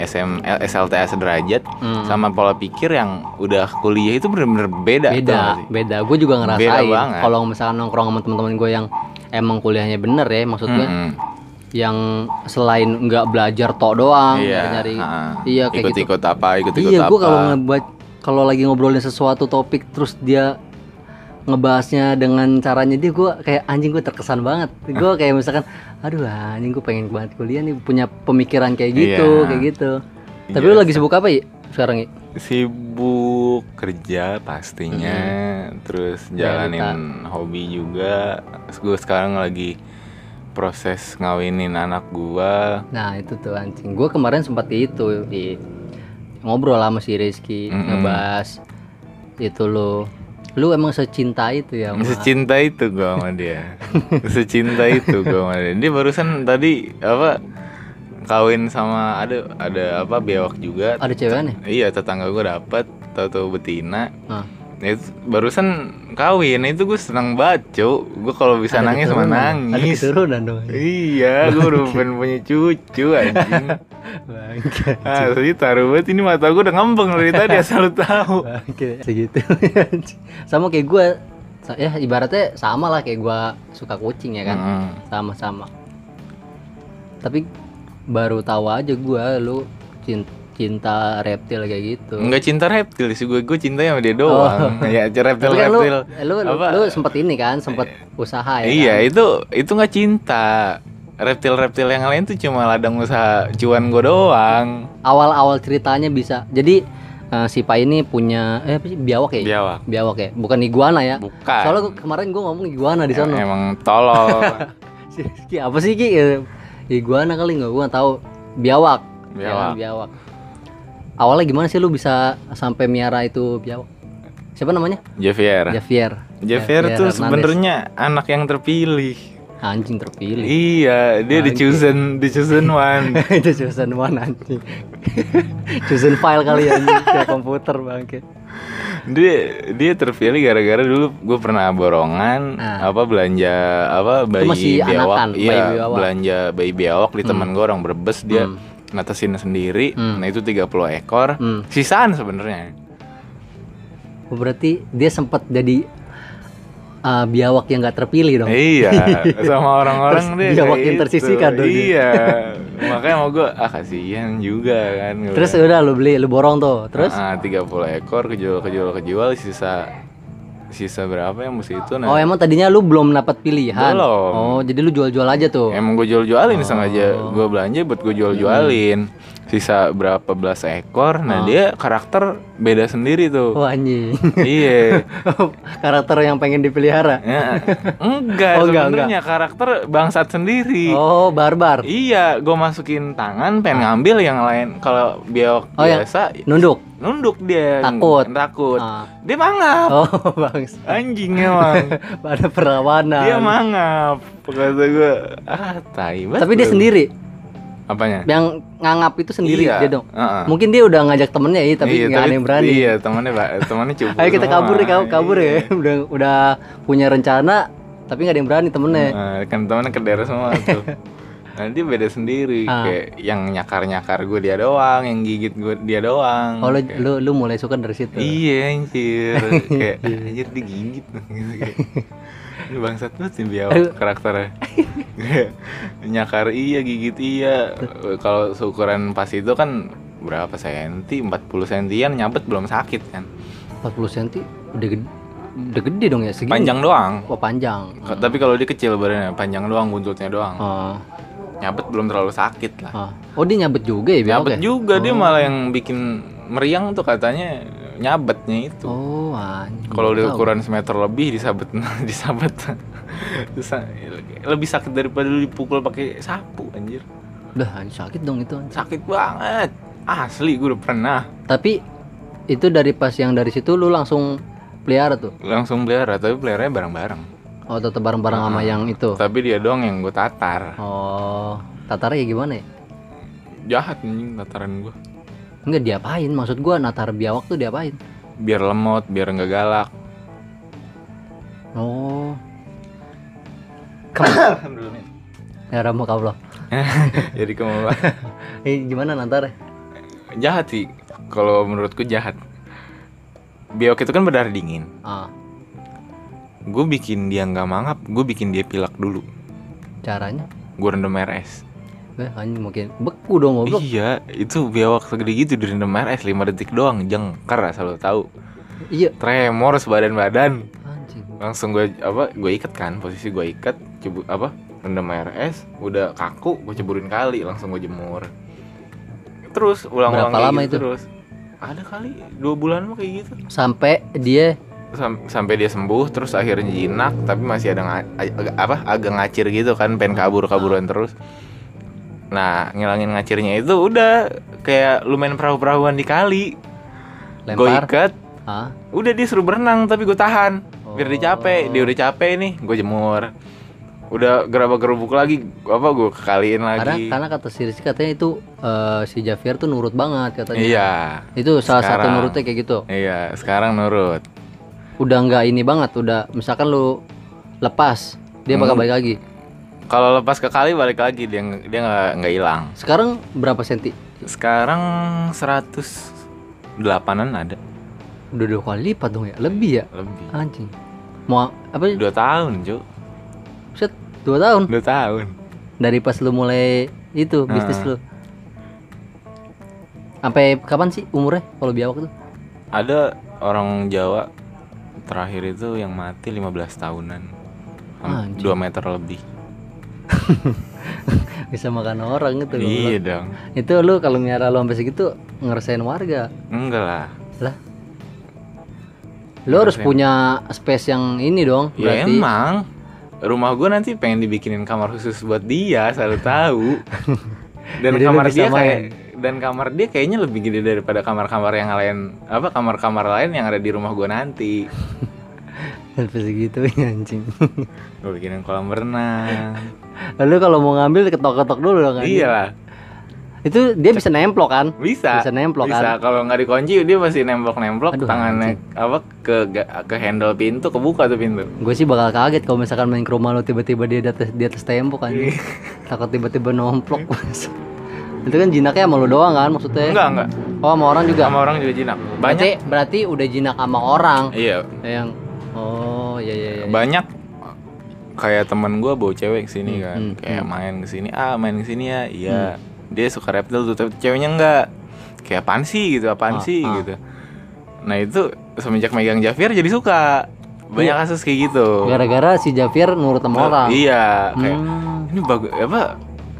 SM L- SLTA sederajat
Hmm.
sama pola pikir yang udah kuliah itu bener-bener beda tau
beda
gak sih?
beda gue juga
Beda
ngerasain
banget.
kalau misalkan nongkrong sama teman-teman gue yang emang kuliahnya bener ya maksud gue
Mm-mm.
yang selain nggak belajar tok doang
iya
nyari
ha.
iya kayak gitu
ikut-ikut apa ikut-ikut
iya
apa
gue kalau ngebuat kalau lagi ngobrolin sesuatu topik terus dia ngebahasnya dengan caranya dia gue kayak anjing gue terkesan banget gue kayak misalkan aduh anjing gue pengen banget kuliah nih punya pemikiran kayak gitu
Iya.
kayak gitu tapi
Iya,
lu lagi sibuk apa ya sekarang ya
sibuk kerja pastinya terus jalanin hobi juga gue sekarang lagi proses ngawinin anak gua
nah itu tuh anjing gue kemarin sempat itu di ngobrol sama si Rizky
Mm-mm.
ngebahas itu lo lu emang secinta itu ya sama-
secinta itu gua sama dia secinta itu gua sama dia dia barusan tadi apa kawin sama ada ada apa biawak juga
ada ceweknya
iya tetangga gua dapat tahu betina
Nah.
Ya, itu barusan kawin itu gue senang banget cuk gue kalau bisa
Ada
nangis mah
keturunan. ada
nangis
keturunan dong
Iya, gue udah pengen punya cucu anjing.
Bangke.
Ah, jadi taruh banget ini mata gue udah ngembeng dari tadi asal lu tahu.
Bangke. segitu sama kayak gue ya ibaratnya sama lah kayak gue suka kucing ya kan
Mm.
sama-sama tapi baru tahu aja gue lu cin- cinta reptil kayak gitu
Enggak cinta reptil sih gue, gue cinta sama dia doang. Ya,
Oh.
reptil
tapi kan lu,
reptil.
lu,
Apa?
lu sempet ini kan sempet usaha ya
Iya,
kan?
itu itu nggak cinta. Reptil-reptil yang lain tuh cuma ladang usaha cuan gue doang.
awal-awal ceritanya bisa jadi eh, si Pak ini punya eh apa sih biawak ya
Biawak.
biawak ya bukan iguana ya
Bukan. Iya.
soalnya gua- kemarin gue ngomong iguana di sana
Emang tolol.
Si Rizky, apa sih Ki? Eh, Iguana kali nggak? Gua nggak tahu. Biawak. Ya kan,
Biawak.
biawak. Awalnya gimana sih lu bisa sampai miara itu biawak? Siapa namanya?
Javier.
Javier.
Javier
Iya. Hernandez.
tuh sebenarnya anak yang terpilih.
anjing terpilih.
Iya, dia the
Anjing.
chosen, the chosen one.
itu chosen one anjing. chosen file kali ya anjing kayak komputer bangke.
dia dia terpilih gara-gara dulu gue pernah borongan
Ah.
apa belanja apa bayi
masih
biawak
anakan, bayi
iya
biawak.
belanja bayi biawak di teman gue orang berbes dia ngatasin sendiri
Hmm.
nah itu 30 ekor
Hmm.
sisaan sebenarnya
Oh, Berarti dia sempat jadi uh, biawak yang nggak terpilih dong.
iya sama orang-orang
Oh. Terus
dia
biawak
kayak
yang tersisihkan
gitu.
dong dia.
iya makanya mau gue ah kasihan juga kan gua
Terus udah lu beli, lu borong tuh. Terus
Ah, 30 ekor kejual kejual kejual sisa sisa berapa yang mesti itu nah
Oh emang tadinya lu belum dapat pilihan?
Belum.
Oh jadi lu jual-jual aja tuh?
Emang gue jual-jualin
Oh.
sengaja Gue belanja buat gue jual-jualin
Hmm.
Sisa berapa belas ekor Nah
Oh.
dia karakter beda sendiri tuh
Wah Oh, anjing
Iya
Karakter yang pengen dipelihara?
Ya, Enggak
Oh, enggak,
sebenarnya karakter bangsat sendiri
Oh barbar
Iya gue masukin tangan pengen ngambil yang lain Kalau biawak
Oh, yang-
biasa
Nunduk?
Nunduk dia
Takut.
Takut
Ah.
Dia mangap
Oh bangs
Anjing emang
Ada perlawanan
Dia mangap Kata gue Ah tai banget
Tapi dia
lu.
sendiri?
Apanya?
Yang ngangap itu sendiri
Iya,
dia dong?
heeh.
Mungkin dia udah ngajak temennya ya Ah. tapi
Iya,
nggak ada yang berani
Iya, temannya Pak, temannya cupu.
Ayo kita
semua.
kabur nih kabur, kabur
Iya.
ya udah, udah punya rencana tapi nggak ada yang berani temennya
Eh, kan temannya ke daerah semua tuh. Nanti beda sendiri
Ah.
kayak yang nyakar-nyakar gue dia doang, yang gigit gue dia doang.
Oh lu,
Kayak,
lu, lu mulai suka dari situ
Iya, anjir. kayak anjir digigit gitu kayak. Ini bangsat banget sih biawak karakternya Kayak, Nyakar iya, gigit iya Kalau seukuran pas itu kan Berapa senti, 40 sentian nyabet belum sakit kan
40 cm udah gede, udah gede dong ya segini
Panjang doang
Oh panjang
Ka- Tapi kalau dia kecil badannya, panjang doang, buntutnya doang.
Ah.
Nyabet belum terlalu sakit lah.
Ah. Oh dia nyabet juga ya biawak
Nyabet
ya?
juga dia malah yang bikin meriang tuh katanya nyabetnya itu.
Oh anjing.
Kalau dia
Tahu.
ukuran semeter lebih disabet disabet. Disa- lebih sakit daripada lu dipukul pakai sapu anjir.
Dah anjing, sakit dong itu. anjing.
Sakit banget. Asli gue udah pernah
Tapi itu dari pas yang dari situ lu langsung pelihara tuh.
langsung pelihara tapi peliharanya bareng-bareng.
Oh tetap bareng-bareng sama
Hmm.
yang itu.
Tapi dia doang yang gue tatar.
Oh tatarnya ya gimana ya?
Jahat anjing tataran gue.
Enggak diapain maksud gua natar biawak tuh diapain?
Biar lemot, biar nggak galak.
oh
Alhamdulillah.
ya ramu Allah
Jadi kamu
eh gimana nantar
jahat sih. Kalau menurutku jahat. Biok itu kan berdarah dingin.
ah
Gue bikin dia nggak mangap, gue bikin dia pilak dulu.
caranya
Gue rendam air es.
eh anjing mungkin beku dong goblok
Iya, itu biawak segede gitu direndam air es 5 detik doang, jengkar asal lo tahu.
iya
Tremor sebadan-badan.
anjing
Langsung gue apa? Gue ikat kan, posisi gue ikat, cebu apa? Rendam air es, udah kaku, gue ceburin kali, langsung gue jemur. Terus ulang-ulang
Berapa
kayak
lama
gitu
itu?
terus. Ada kali dua bulan mah kayak gitu.
sampai dia
Sam- sampai dia sembuh, terus akhirnya jinak, tapi masih ada nga- ag- ag- apa? Agak ngacir gitu kan, pengen kabur-kaburan terus. Nah, ngilangin ngacirnya itu udah kayak lu main perahu-perahuan di kali. Gue
lempar
ikat,
ah
udah dia suruh berenang tapi gue tahan. Biar dia capek, dia udah capek nih, gue jemur. Udah gerabak-gerubuk lagi, apa gue kekaliin
karena
lagi.
karena kata si Rizky katanya itu eh, si Javier tuh nurut banget katanya
Iya.
itu salah satu
Sekarang.
nurutnya kayak gitu
Iya, sekarang nurut.
udah nggak ini banget udah misalkan lu lepas dia
Hmm.
bakal balik lagi
Kalau lepas ke kali balik lagi dia nge- dia nggak nggak hilang.
sekarang berapa senti
Sekarang 108 an ada
udah dua kali lipat dong ya lebih ya
lebih.
anjing mau apa ya?
Dua tahun, Cuk.
set dua tahun
Dua tahun.
dari pas lu mulai itu bisnis
Nah.
lu sampai kapan sih umurnya kalau biawak tuh
Ada orang Jawa terakhir itu yang mati 15 tahunan.
Anjing.
2 meter lebih.
bisa makan orang gitu
Iya dong.
itu lu kalau miara lu sampai segitu ngerasain warga
Enggak lah.
lah lu harus punya space yang ini dong
Ya
berarti
emang rumah gue nanti pengen dibikinin kamar khusus buat dia, selalu tahu. Dan
Jadi ya? lu
kamar
bisa
dia kayak
main.
dan kamar dia kayaknya lebih gede daripada kamar-kamar yang lain apa kamar-kamar lain yang ada di rumah gue nanti.
sampai segitu anjing
Gue bikinin kolam renang.
lalu kalau mau ngambil ketok-ketok dulu dong kan
iya lah,
itu dia bisa nemplok kan
bisa.
Bisa nemplok,
Bisa. Kalau nggak dikunci dia masih nemplok-nemplok
Aduh,
tangannya apa ke ke handle pintu, kebuka tuh pintu.
gue sih bakal kaget kalau misalkan main ke rumah lo tiba-tiba dia di atas, di atas tembok kan
Iya.
takut tiba-tiba nomplok itu kan jinaknya sama lo doang kan maksudnya
Enggak, enggak.
oh sama orang juga
Sama orang juga jinak.
berarti
Banyak.
berarti udah jinak sama orang
Iya,
yang oh iya iya iya
banyak kayak temen gue bawa cewek kesini kan
hmm,
kayak main kesini ah main kesini ya iya dia suka reptil tuh tapi ceweknya enggak kayak apaan sih gitu apaan
Ah,
sih
ah.
gitu nah itu semenjak megang Javier jadi suka
Iya.
banyak kasus kayak gitu
gara-gara si Javier nurut sama orang
iya kayak
Hmm.
ini bagus apa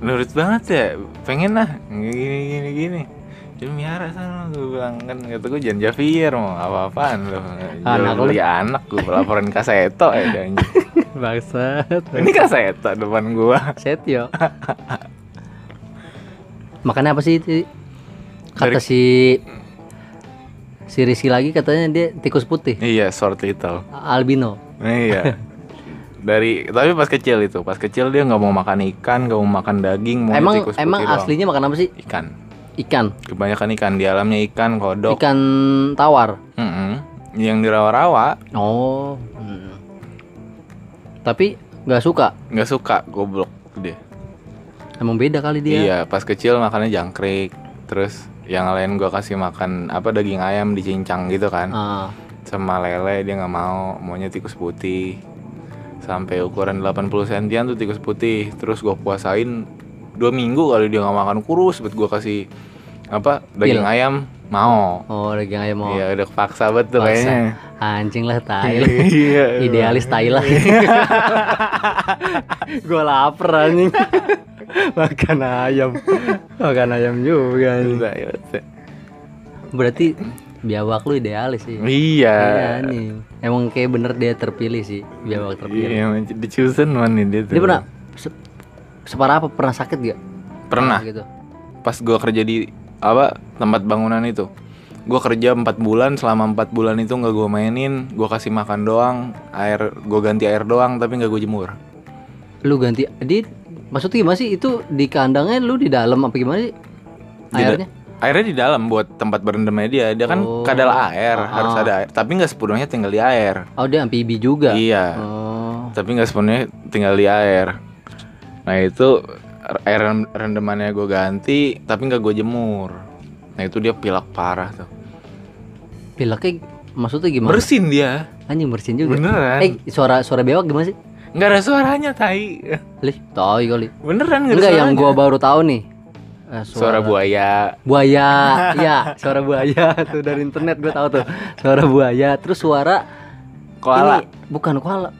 nurut banget ya pengen lah gini gini gini jadi miara sana gue bilang kan kata gue jangan Javier mau apa apaan lo
Anak
anak
lu.
beli anak gue laporin ke Seto ya dan
Bangsat.
ini ke Seto depan gua
Setio. Makanya apa sih itu? Kata
Dari-
si si Rizky lagi katanya dia tikus putih
iya short little
albino.
iya dari tapi pas kecil itu pas kecil dia nggak mau makan ikan nggak mau makan daging mau
emang
tikus putih
emang
doang.
aslinya makan apa sih?
ikan
Ikan.
kebanyakan ikan di alamnya ikan kodok
Ikan tawar.
Mm-mm. yang dirawa-rawa
Oh. Tapi nggak suka.
nggak suka goblok dia
Emang beda kali dia.
Iya, pas kecil makannya jangkrik. Terus yang lain gua kasih makan apa daging ayam dicincang gitu kan.
Ah,
Sama lele dia nggak mau, maunya tikus putih. Sampai ukuran 80 sentian tuh tikus putih. Terus gua puasain dua minggu kali dia nggak makan kurus, buat gua kasih apa daging
Pil.
ayam mau.
Oh, lagi ayam mau.
Iya, udah paksa banget tuh
Paksa.
kayaknya.
Anjing lah tai. lah.
Iya.
Idealis tai lah. Gue lapar anjing. Makan ayam. Makan ayam juga. anjing.
Iya.
Berarti biawak lu idealis sih.
Iya.
Iya nih. Emang kayak bener dia terpilih sih, biawak terpilih.
Iya, the chosen one nih dia tuh.
Dia pernah se- separah apa pernah sakit gak?
Pernah.
gitu.
pas gua kerja di apa tempat bangunan itu gua kerja empat bulan selama empat bulan itu nggak gua mainin gua kasih makan doang air gua ganti air doang tapi nggak gua jemur
Lu ganti di maksudnya gimana sih itu di kandangnya lu di dalam apa gimana sih?
Di da-
Airnya?
airnya di dalam buat tempat berendamnya dia. Dia kan
Oh.
kadal air, harus
Ah.
ada air. Tapi nggak sepenuhnya tinggal di air.
Oh dia amfibi juga.
Iya.
Oh.
Tapi nggak sepenuhnya tinggal di air. Nah itu air ren- rendamannya gue ganti, tapi nggak gue jemur. Nah itu dia pilak parah tuh.
Pileknya maksudnya gimana?
Bersin dia,
Anjing bersin juga.
beneran.
Eh suara suara bewak gimana sih?
Nggak ada suaranya tai.
Lih, tahu kali.
Beneran nggak ada
Enggak yang
suaranya.
gua baru tahu nih. Eh,
Suara buaya.
buaya. ya, suara buaya tuh dari internet gua tahu tuh. Suara buaya, terus suara
Koala.
ini bukan koala.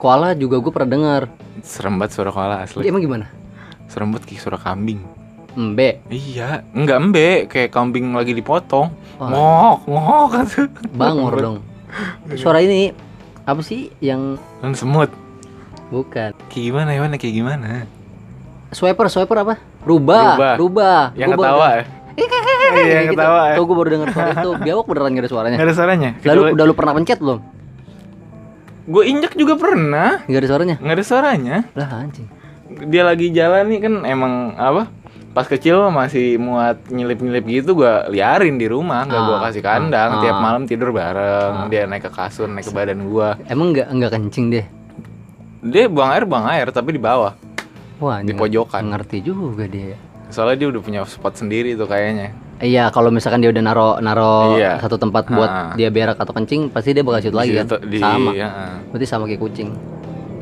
Koala juga gua pernah dengar.
Serem banget suara koala asli.
Emang gimana?
Serem banget kayak suara kambing.
Embe.
Iya, nggak embe, kayak kambing lagi dipotong.
Wah.
Ngok, ngok gitu.
Bangor dong. Suara ini apa sih yang
Dan semut.
bukan?
Kayak gimana hewannya kayak gimana?
Swiper, swiper apa? Rubah,
Rubah.
rubah.
Yang
Gua baru
ketawa. ya?
dengar.
Iya, yang
Gitu.
ketawa. Gitu ya?
Tuh gue baru denger suara itu. Biawak beneran gak ada suaranya.
Nggak ada suaranya.
Eh. Lalu udah lu pernah pencet belum?
gue injek juga pernah.
Gak ada suaranya.
Nggak ada suaranya.
Lah anjing.
Dia lagi jalan nih kan emang apa? Pas kecil masih muat nyelip-nyelip gitu gua liarin di rumah, nggak gua
Ah,
kasih kandang.
ah,
Tiap
ah.
malam tidur bareng, dia naik ke kasur, naik ke badan gua.
Emang nggak nggak kencing deh.
Dia buang air, buang air tapi di bawah,
Wah,
di
anjing.
pojokan.
Ngerti juga dia.
Soalnya dia udah punya spot sendiri tuh kayaknya.
Iya, kalau misalkan dia udah naro naro
Iya.
satu tempat buat
Ha-ha.
dia berak atau kencing, pasti dia bakal situ
Di
lagi kan.
situ- di-
Sama.
ya.
Berarti sama kayak kucing.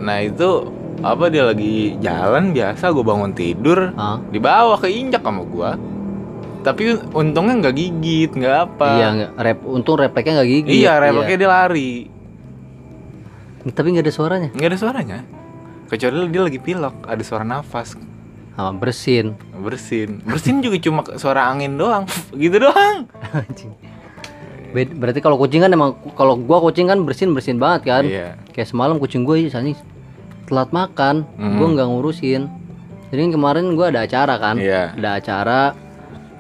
Nah itu apa dia lagi jalan biasa gue bangun tidur
Ah.
di bawah keinjak sama gua tapi un- untungnya nggak gigit nggak apa
Iya, nggak- rep, untung refleksnya nggak gigit.
iya refleksnya dia lari
Iya. Tapi nggak ada suaranya.
nggak ada suaranya kecuali dia lagi pilok ada suara nafas
Ah, bersin.
bersin bersin juga cuma suara angin doang gitu doang
Anjing. Be- Berarti kalau kucing kan emang kalau gua kucing kan bersin bersin banget kan.
iya
Kayak semalam kucing gua aja anjing telat makan,
Mm.
gua nggak ngurusin. Jadi kan kemarin gua ada acara kan.
iya
Ada acara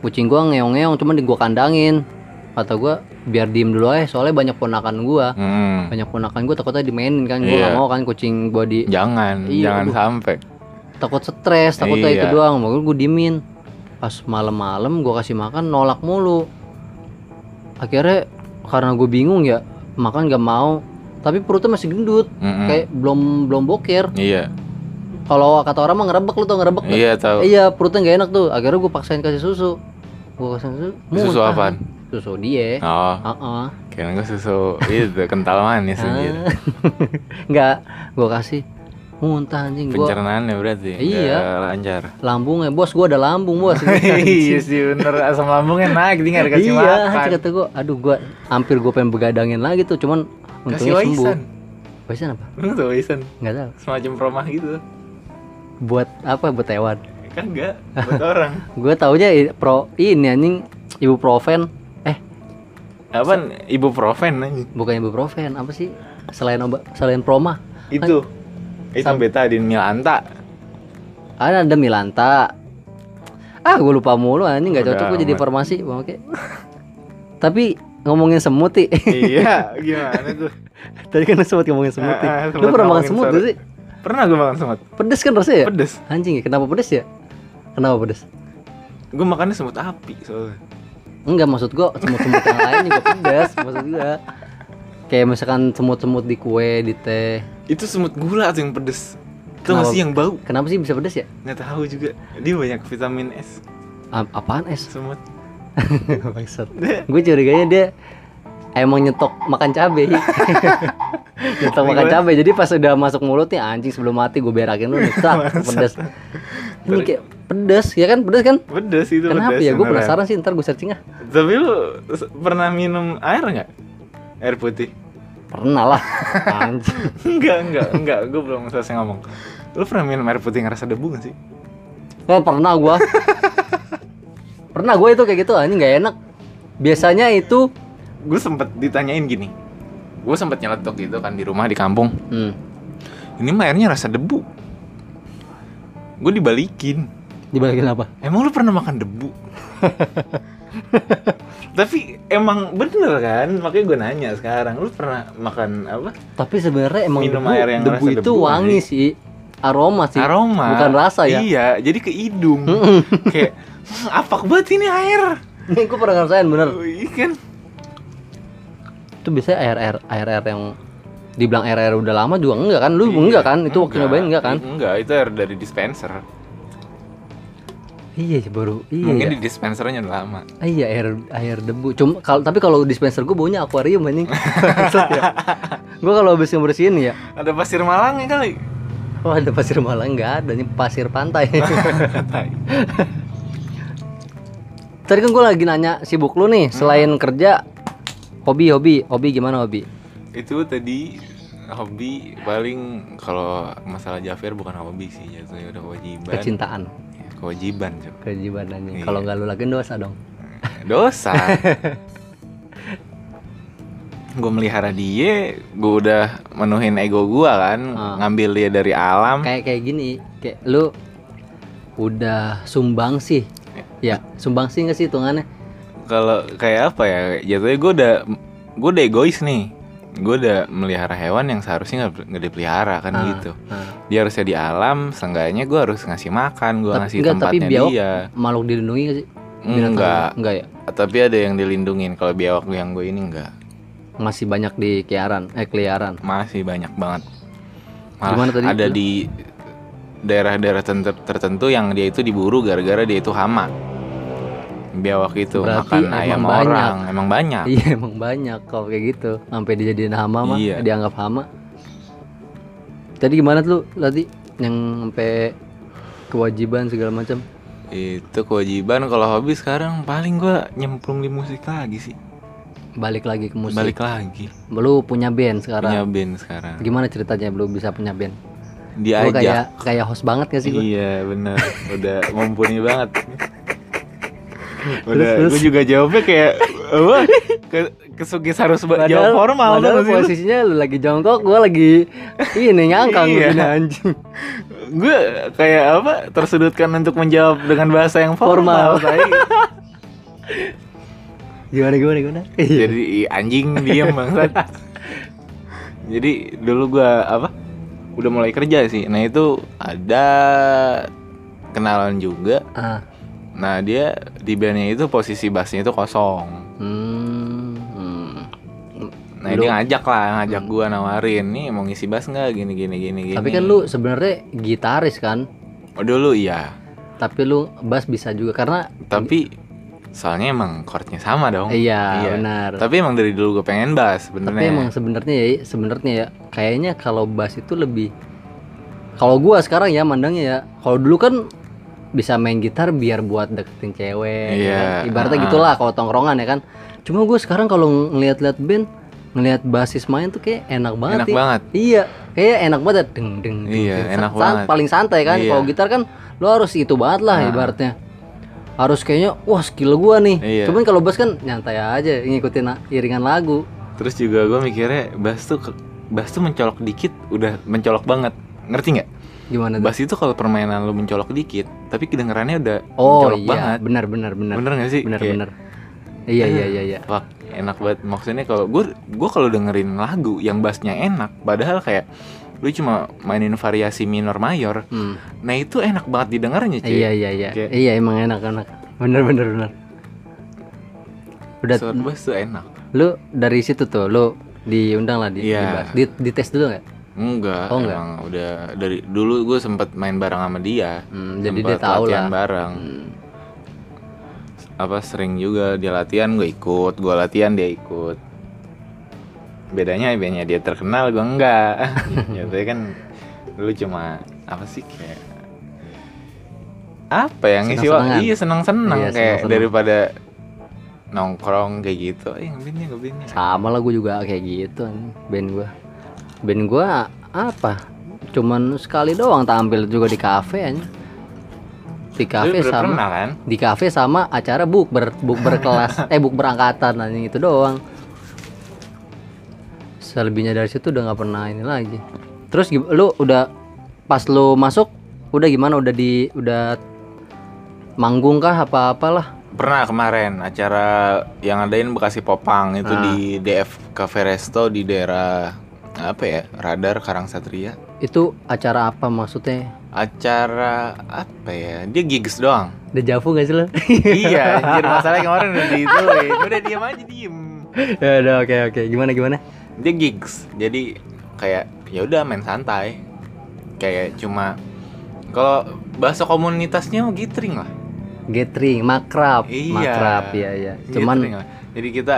kucing gua ngeong-ngeong cuman di gua kandangin. Kata gua biar diem dulu aja soalnya banyak ponakan gua.
Hmm.
Banyak ponakan gua takutnya dimainin kan. Gua
Iya.
nggak mau kan kucing gua di
jangan
Iya,
jangan
aduh.
sampai
takut stres, takutnya
Iya.
itu doang. Makanya gue diemin. Pas malam-malam gue kasih makan nolak mulu. Akhirnya karena gue bingung ya makan gak mau. Tapi perutnya masih gendut,
Mm-mm.
kayak belum belum boker.
iya
Kalau kata orang mah ngerebek lu tau ngerebek. nggak?
iya tahu
Iya, perutnya gak enak tuh. Akhirnya gue paksain kasih susu. Gue kasih susu.
susu
muntah.
apaan
Susu dia.
oh
Heeh.
kira gue susu itu kental manis
Ah,
gitu
Enggak, gue kasih muntah anjing gua
pencernaannya berarti
Iya.
nggak lancar
lambungnya bos gue ada lambung bos kan,
Iya sih bener asam lambungnya naik tinggal dikasih
iya,
makan.
anjing, kata gue, aduh gue hampir gue pengen begadangin lagi tuh, cuman
Kasih
untungnya sembuh.
waisan.
Waisan apa?
Lu tuh waisan
Nggak tahu.
semacam rumah gitu.
Buat apa? Buat hewan.
Kan enggak buat orang.
Gue taunya i- pro ini anjing ibu profen. Eh,
Apa ibu profen anjing.
bukan ibu profen, apa sih? Selain obat, selain proma,
Itu. Itu betadin milanta.
ada ada milanta. Ah, gue lupa mulu anjing nggak cocok
Udah
gue jadi
amat.
farmasi, Bang, oke. Tapi ngomongin semut Ti.
iya, gimana tuh?
Tadi kan sempat ngomongin semut. Ti.
Ah, ah,
Lu
sempat
pernah makan
ngomongin
semut
soal-
gak sih?
Pernah gue makan semut.
Pedes kan rasanya ya?
Pedes.
Anjing ya, kenapa pedes ya? Kenapa pedes?
Gue makannya semut api soalnya.
Enggak maksud gua semut-semut yang lain juga pedas maksud gua. Kayak misalkan semut-semut di kue, di teh.
Itu semut gula tuh yang pedes. Itu
Kenapa?
masih yang bau.
Kenapa sih bisa pedas ya?
Nggak tahu juga. Dia banyak vitamin S
A- apaan es?
semut.
Maksud. Gue curiganya dia emang nyetok makan cabe. nyetok makan cabe. Jadi pas udah masuk mulutnya anjing sebelum mati gue berakin lu nyetak pedas. Ini kayak pedas ya kan pedas kan?
Pedes itu
Kenapa
pedes.
ya? Gue
beneran.
penasaran sih ntar gue searching ah.
Tapi lu s- pernah minum air nggak? Air putih?
Pernah lah. Anjing.
enggak, enggak, enggak. Gue belum selesai ngomong. Lu pernah minum air putih ngerasa debu gak sih?
Oh, pernah gua. pernah gua itu kayak gitu anjing nggak enak. Biasanya itu
Gue sempet ditanyain gini. Gue sempet nyeletuk gitu kan di rumah di kampung.
hmm,
Ini mah airnya rasa debu. Gue dibalikin.
dibalikin apa?
Emang lu pernah makan debu? Tapi emang bener kan? Makanya gue nanya sekarang. Lu pernah makan apa?
Tapi sebenarnya emang
Minum
debu,
air yang
debu
rasa
itu
debu,
wangi sih. Aroma sih.
Aroma.
Bukan rasa ya.
Iya, jadi ke hidung. Kayak "Hmm, apak banget ini air.
Ini gue pernah ngerasain bener.
Oh, Iya kan?
Itu biasanya air air air air yang dibilang air air udah lama juga enggak kan? Lu enggak kan? Itu waktu nyobain enggak kan?
Iya, Enggak, Iya. itu air dari dispenser.
Iya sih, baru. Iya.
Mungkin
ya.
di dispensernya udah lama.
Ah, Iya air air debu. Cuma kalau tapi kalau dispenser gue baunya akuarium anjing. Bangsat ya. gue kalau habis ngebersihin ya,
Ada pasir malang ya kali.
oh ada pasir malang enggak ada, ini pasir pantai.
Tai.
Tadi kan gue lagi nanya sibuk lu nih, selain
Hmm.
kerja hobi hobi hobi gimana hobi?
itu tadi hobi paling kalau masalah Jafir bukan hobi sih jatuhnya udah kewajiban.
Kecintaan,
Ya, Kewajiban, Cok.
kewajiban anjing.
Iya.
Kalau nggak lu lakuin dosa dong.
Dosa. gue melihara dia, gue udah menuhin ego gua kan,
Ah.
ngambil dia dari alam.
Kayak kayak gini, kayak lu udah sumbang sih. Ya,
Iya.
sumbang sih nggak sih hitungannya?
Kalau kayak apa ya, jatuhnya gue udah gue udah egois nih. Gue udah melihara hewan yang seharusnya nggak nggak dipelihara kan
Ah,
gitu.
ah.
Dia harusnya di alam, seenggaknya gue harus ngasih makan, gue
Tapi-
ngasih
nggak, tapi
tempatnya
biawak-
dia.
Makhluk dilindungi nggak sih? Binatang?
Enggak,
Enggak ya?
tapi ada yang dilindungin kalau biawak yang gue ini enggak
Masih banyak di kiaran, eh keliaran.
masih banyak banget
Gimana
malah
tadi? Iya.
ada di daerah-daerah tenter- tertentu yang dia itu diburu gara-gara dia itu hama biawak itu
Berarti
makan ayam
emang banyak.
orang emang banyak
Iya emang banyak kalau kayak gitu sampai dijadiin hama mah
Iya.
dianggap hama. Tadi gimana tuh lu, tadi yang sampai kewajiban segala macam?
itu kewajiban kalau hobi sekarang paling gue nyemplung di musik lagi sih
Balik lagi ke musik.
balik lagi
Lu punya band
punya
sekarang.
band sekarang
Gimana ceritanya lu bisa punya band? Lu
diajak
kayak kayak host banget gak sih gua?
Ya Iya bener Udah mumpuni banget
Terus,
Udah
terus.
gue juga jawabnya kayak Wah ke, kesugis harus ba- jawab formal tuh
padahal posisinya lu lagi jongkok, gua lagi ini nyangkang
Iya.
begini anjing.
Gue kayak apa Tersudutkan untuk menjawab dengan bahasa yang
Formal,
formal,
tai. Gimana gimana gimana? Iya.
Jadi i- anjing diem bangsat Jadi dulu gue apa Udah mulai kerja sih Nah itu ada kenalan juga
Ah.
Nah dia di bandnya itu posisi bassnya itu kosong
Hmm. hmm.
Nah dia ngajak lah, ngajak gua nawarin nih mau ngisi bass nggak gini gini gini gini.
Tapi kan lu sebenarnya gitaris kan?
Oh, dulu iya,
Tapi lu bass bisa juga karena
tapi soalnya emang chordnya sama dong.
iya, benar.
Tapi emang dari dulu gue pengen bass,
Tapi
benernya.
emang sebenarnya ya, sebenarnya ya kayaknya kalau bass itu lebih kalau gua sekarang ya mandangnya ya, kalau dulu kan bisa main gitar biar buat deketin cewek. ya
Iya,
kan? Ibaratnya
ah.
gitulah kalau tongkrongan ya kan. Cuma gua sekarang kalau ng- ngeliat-liat band, ngeliat bassis main tuh kayak enak banget.
enak
ya.
banget.
Iya, kayak enak banget ya. deng deng. deng,
Iya,
deng.
enak
San-
banget.
Paling santai kan.
Iya. Nah.
Kalau gitar kan lo harus itu banget lah ibaratnya. Harus kayaknya wah skill gua nih.
Iya.
Cuman kalau bass kan nyantai aja ngikutin na- iringan lagu.
Terus juga gue mikirnya bass tuh ke- bass tuh mencolok dikit udah mencolok banget. Ngerti nggak?
Gimana tuh?
Bass itu kalau permainan lu mencolok dikit, tapi kedengarannya udah
Oh
mencolok
iya,
banget.
benar benar benar.
Bener nggak sih?
Benar
Kayak,
benar. Iya iya iya iya.
Wah, enak banget. Maksudnya kalau gue gue kalau dengerin lagu yang bassnya enak, padahal kayak lu cuma mainin variasi minor mayor.
Hmm.
Nah, itu enak banget didengarnya, cuy.
Iya iya iya.
Kayak-
Iya emang enak enak. Bener bener bener. Udah
Sound bass tuh enak.
lu dari situ tuh lu diundang lah di,
Iya.
di, di, di tes dulu nggak?
Enggak,
Oh, enggak.
emang udah dari dulu gue sempet main bareng sama dia.
Hmm, jadi
Sempet
dia tahu
latihan
lah.
bareng.
Hmm.
Apa sering juga dia latihan gue ikut, gue latihan dia ikut. Bedanya bedanya dia terkenal gue enggak. Nyatanya kan dulu cuma apa sih kayak apa yang ngisi
Senang-senangan.
waktu iya
Iya,
senang-senang kayak
senang-senang.
daripada nongkrong kayak gitu eh ngebinnya ngebinnya
sama lah gue juga kayak gitu anjing, band gue band gue apa cuman sekali doang tampil juga di kafe aja di kafe
udah
sama
pernah kan
di kafe sama acara book ber book berkelas eh book berangkatan anjing itu doang selebihnya dari situ udah nggak pernah ini lagi terus gim- lu udah pas lu masuk udah gimana udah di udah manggung kah apa apalah
pernah kemarin acara yang adain Bekasi Popang
Ah.
itu di DF Cafe Resto di daerah apa ya Radar Karang Satria
Itu acara apa maksudnya?
acara apa ya dia gigs doang
Dejavu gak sih lo?
iya anjir masalahnya kemarin udah diituin udah diam aja diem
ya udah oke oke gimana gimana?
dia gigs jadi kayak ya udah main santai kayak cuma kalau bahasa komunitasnya mah gitring lah
Gathering, makrab,
Iya.
makrab ya ya.
Gittering
Cuman
Iya, lah. jadi kita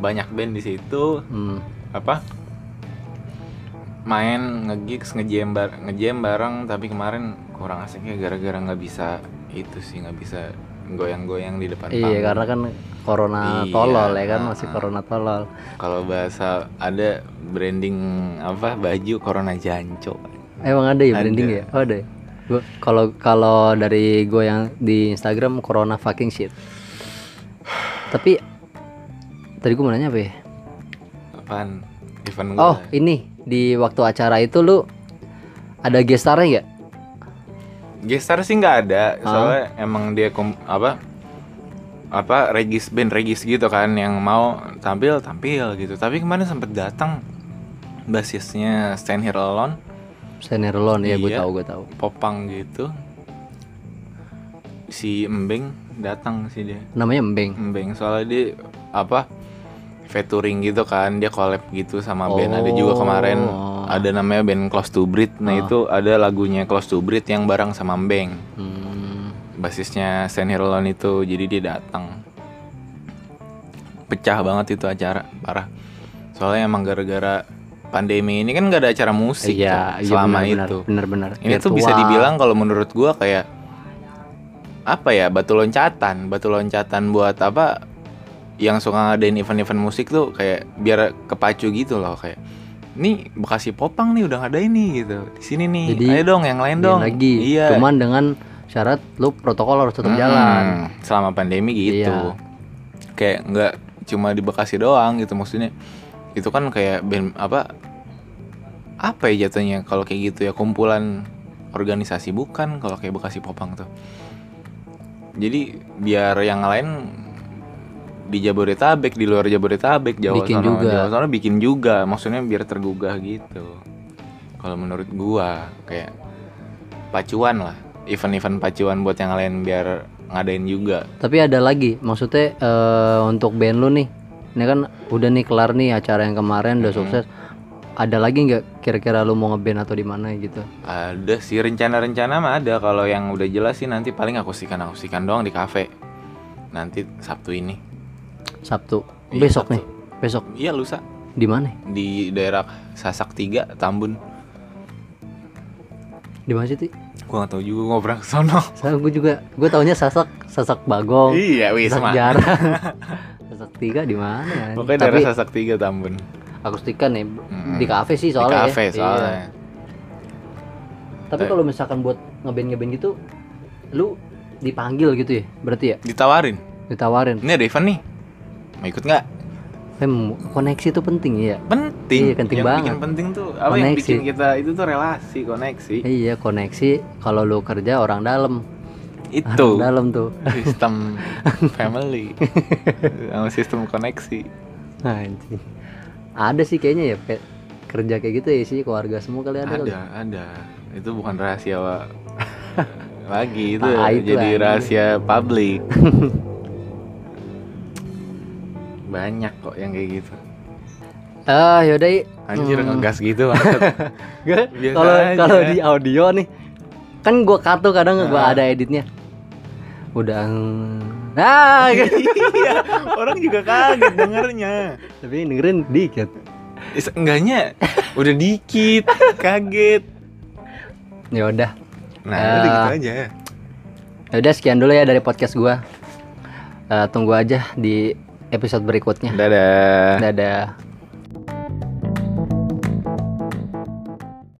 banyak band di situ
hmm,
apa main ngegigs ngejam bar ngejam bareng tapi kemarin kurang asiknya gara-gara nggak bisa itu sih nggak bisa goyang-goyang di depan
iya
panggung.
karena kan corona
Iya,
tolol ya kan masih
ah.
corona tolol.
kalau bahasa ada branding apa baju corona janco
Emang ada ya
Ada.
branding ya? Oh, ada. ya? Gua- Kalau kalau dari gue yang di Instagram Corona fucking shit. Tapi tadi gue mau nanya apa ya?
apaan event gua
Oh ini di waktu acara itu lu ada gestarnya nggak?
gestar sih nggak ada
Ah.
soalnya emang dia kom- apa apa regis band regis gitu kan yang mau tampil tampil gitu tapi kemarin sempet datang basisnya Stand Here Alone
Senior loan ya gue
Iya.
tahu gue tahu.
popang gitu si embeng datang sih dia
Namanya Mbeng.
embeng soalnya dia apa featuring gitu kan dia collab gitu sama band ada
Oh. Ah.
juga kemarin ada namanya band Close to Breed nah itu ada lagunya Close to Breed yang bareng sama embeng
Hmm,
basisnya Stan Hirolon itu jadi dia datang pecah banget itu acara parah soalnya emang gara-gara pandemi ini kan nggak ada acara musik
iya,
tuh selama itu
Benar-benar.
ini tuh bisa dibilang kalau menurut gua kayak apa ya batu loncatan batu loncatan buat apa yang suka ngadain event-event musik tuh kayak biar kepacu gitu loh kayak nih Bekasi Popang nih udah ngadain nih gitu di sini nih
Jadi,
ayo dong yang lain dong
lagi.
iya
Cuman dengan syarat lu protokol harus tetap
Mm,
jalan.
selama pandemi gitu
Hmm. Iya.
kayak nggak cuma di Bekasi doang gitu maksudnya itu kan kayak band apa apa ya jatuhnya kalau kayak gitu ya kumpulan organisasi bukan kalau kayak Bekasi Popang tuh jadi biar yang lain di Jabodetabek di luar Jabodetabek Jawa
Bikin
sana
juga.
Jawa sana bikin juga maksudnya biar tergugah gitu kalau menurut gua kayak pacuan lah event-event pacuan buat yang lain biar ngadain juga
Tapi ada lagi, maksudnya eh, untuk band lu nih, ini kan udah nih kelar nih acara yang kemarin udah
Mhm.
sukses. Ada lagi nggak kira-kira lu mau ngeband atau di mana gitu?
ada sih rencana-rencana mah ada kalau yang udah jelas sih nanti paling akustikan akustikan doang di kafe nanti Sabtu ini
Sabtu,
Iya,
besok
Sabtu.
nih, besok
iya lusa
di mana?
di daerah Sasak 3 Tambun
Di mana sih? Ti?
gua nggak tahu juga gua ngobrol ke sono
Saya gue juga, gue taunya sasak sasak bagong,
iya
sasak
wisma
jarang, sasak tiga di mana? ya?
pokoknya
Tapi
daerah Sasak 3 Tambun
akustikan nih
Mm-mm.
di kafe sih
di
soalnya. ya.
kafe
Iya.
soalnya Eh.
Tapi kalau misalkan buat ngeband ngeband gitu, lu dipanggil gitu ya, berarti ya
ditawarin
ditawarin.
ini ada event nih mau ikut nggak
Mem, koneksi itu penting ya. Iya,
penting
penting
yang bikin
banget.
penting tuh apa yang
Koneksi.
bikin kita itu tuh relasi koneksi
Iya koneksi kalau lu kerja orang dalam
itu
Orang dalam tuh
sistem family sama sistem koneksi
Anjing. Ada sih kayaknya ya kayak kerja kayak gitu ya isinya keluarga semua kali ada, kali.
ada ada itu bukan rahasia Wak. lagi itu
Ah, itu
jadi
lagi.
rahasia publik banyak kok yang kayak gitu
Ah yaudah I.
anjir
Hmm.
ngegas gitu banget.
Gua-
Biasa
Kalau
aja.
kalau di audio nih kan gua kato kadang
Ah.
gua ada editnya. Udah mm, ah gitu.
iya orang juga kaget dengernya
tapi dengerin dikit.
Eh, seenggaknya udah dikit kaget
Ya udah.
nah
Ah.
udah gitu aja
Ya udah sekian dulu ya dari podcast gua. Eh, tunggu aja di episode berikutnya.
dadah
Dadah.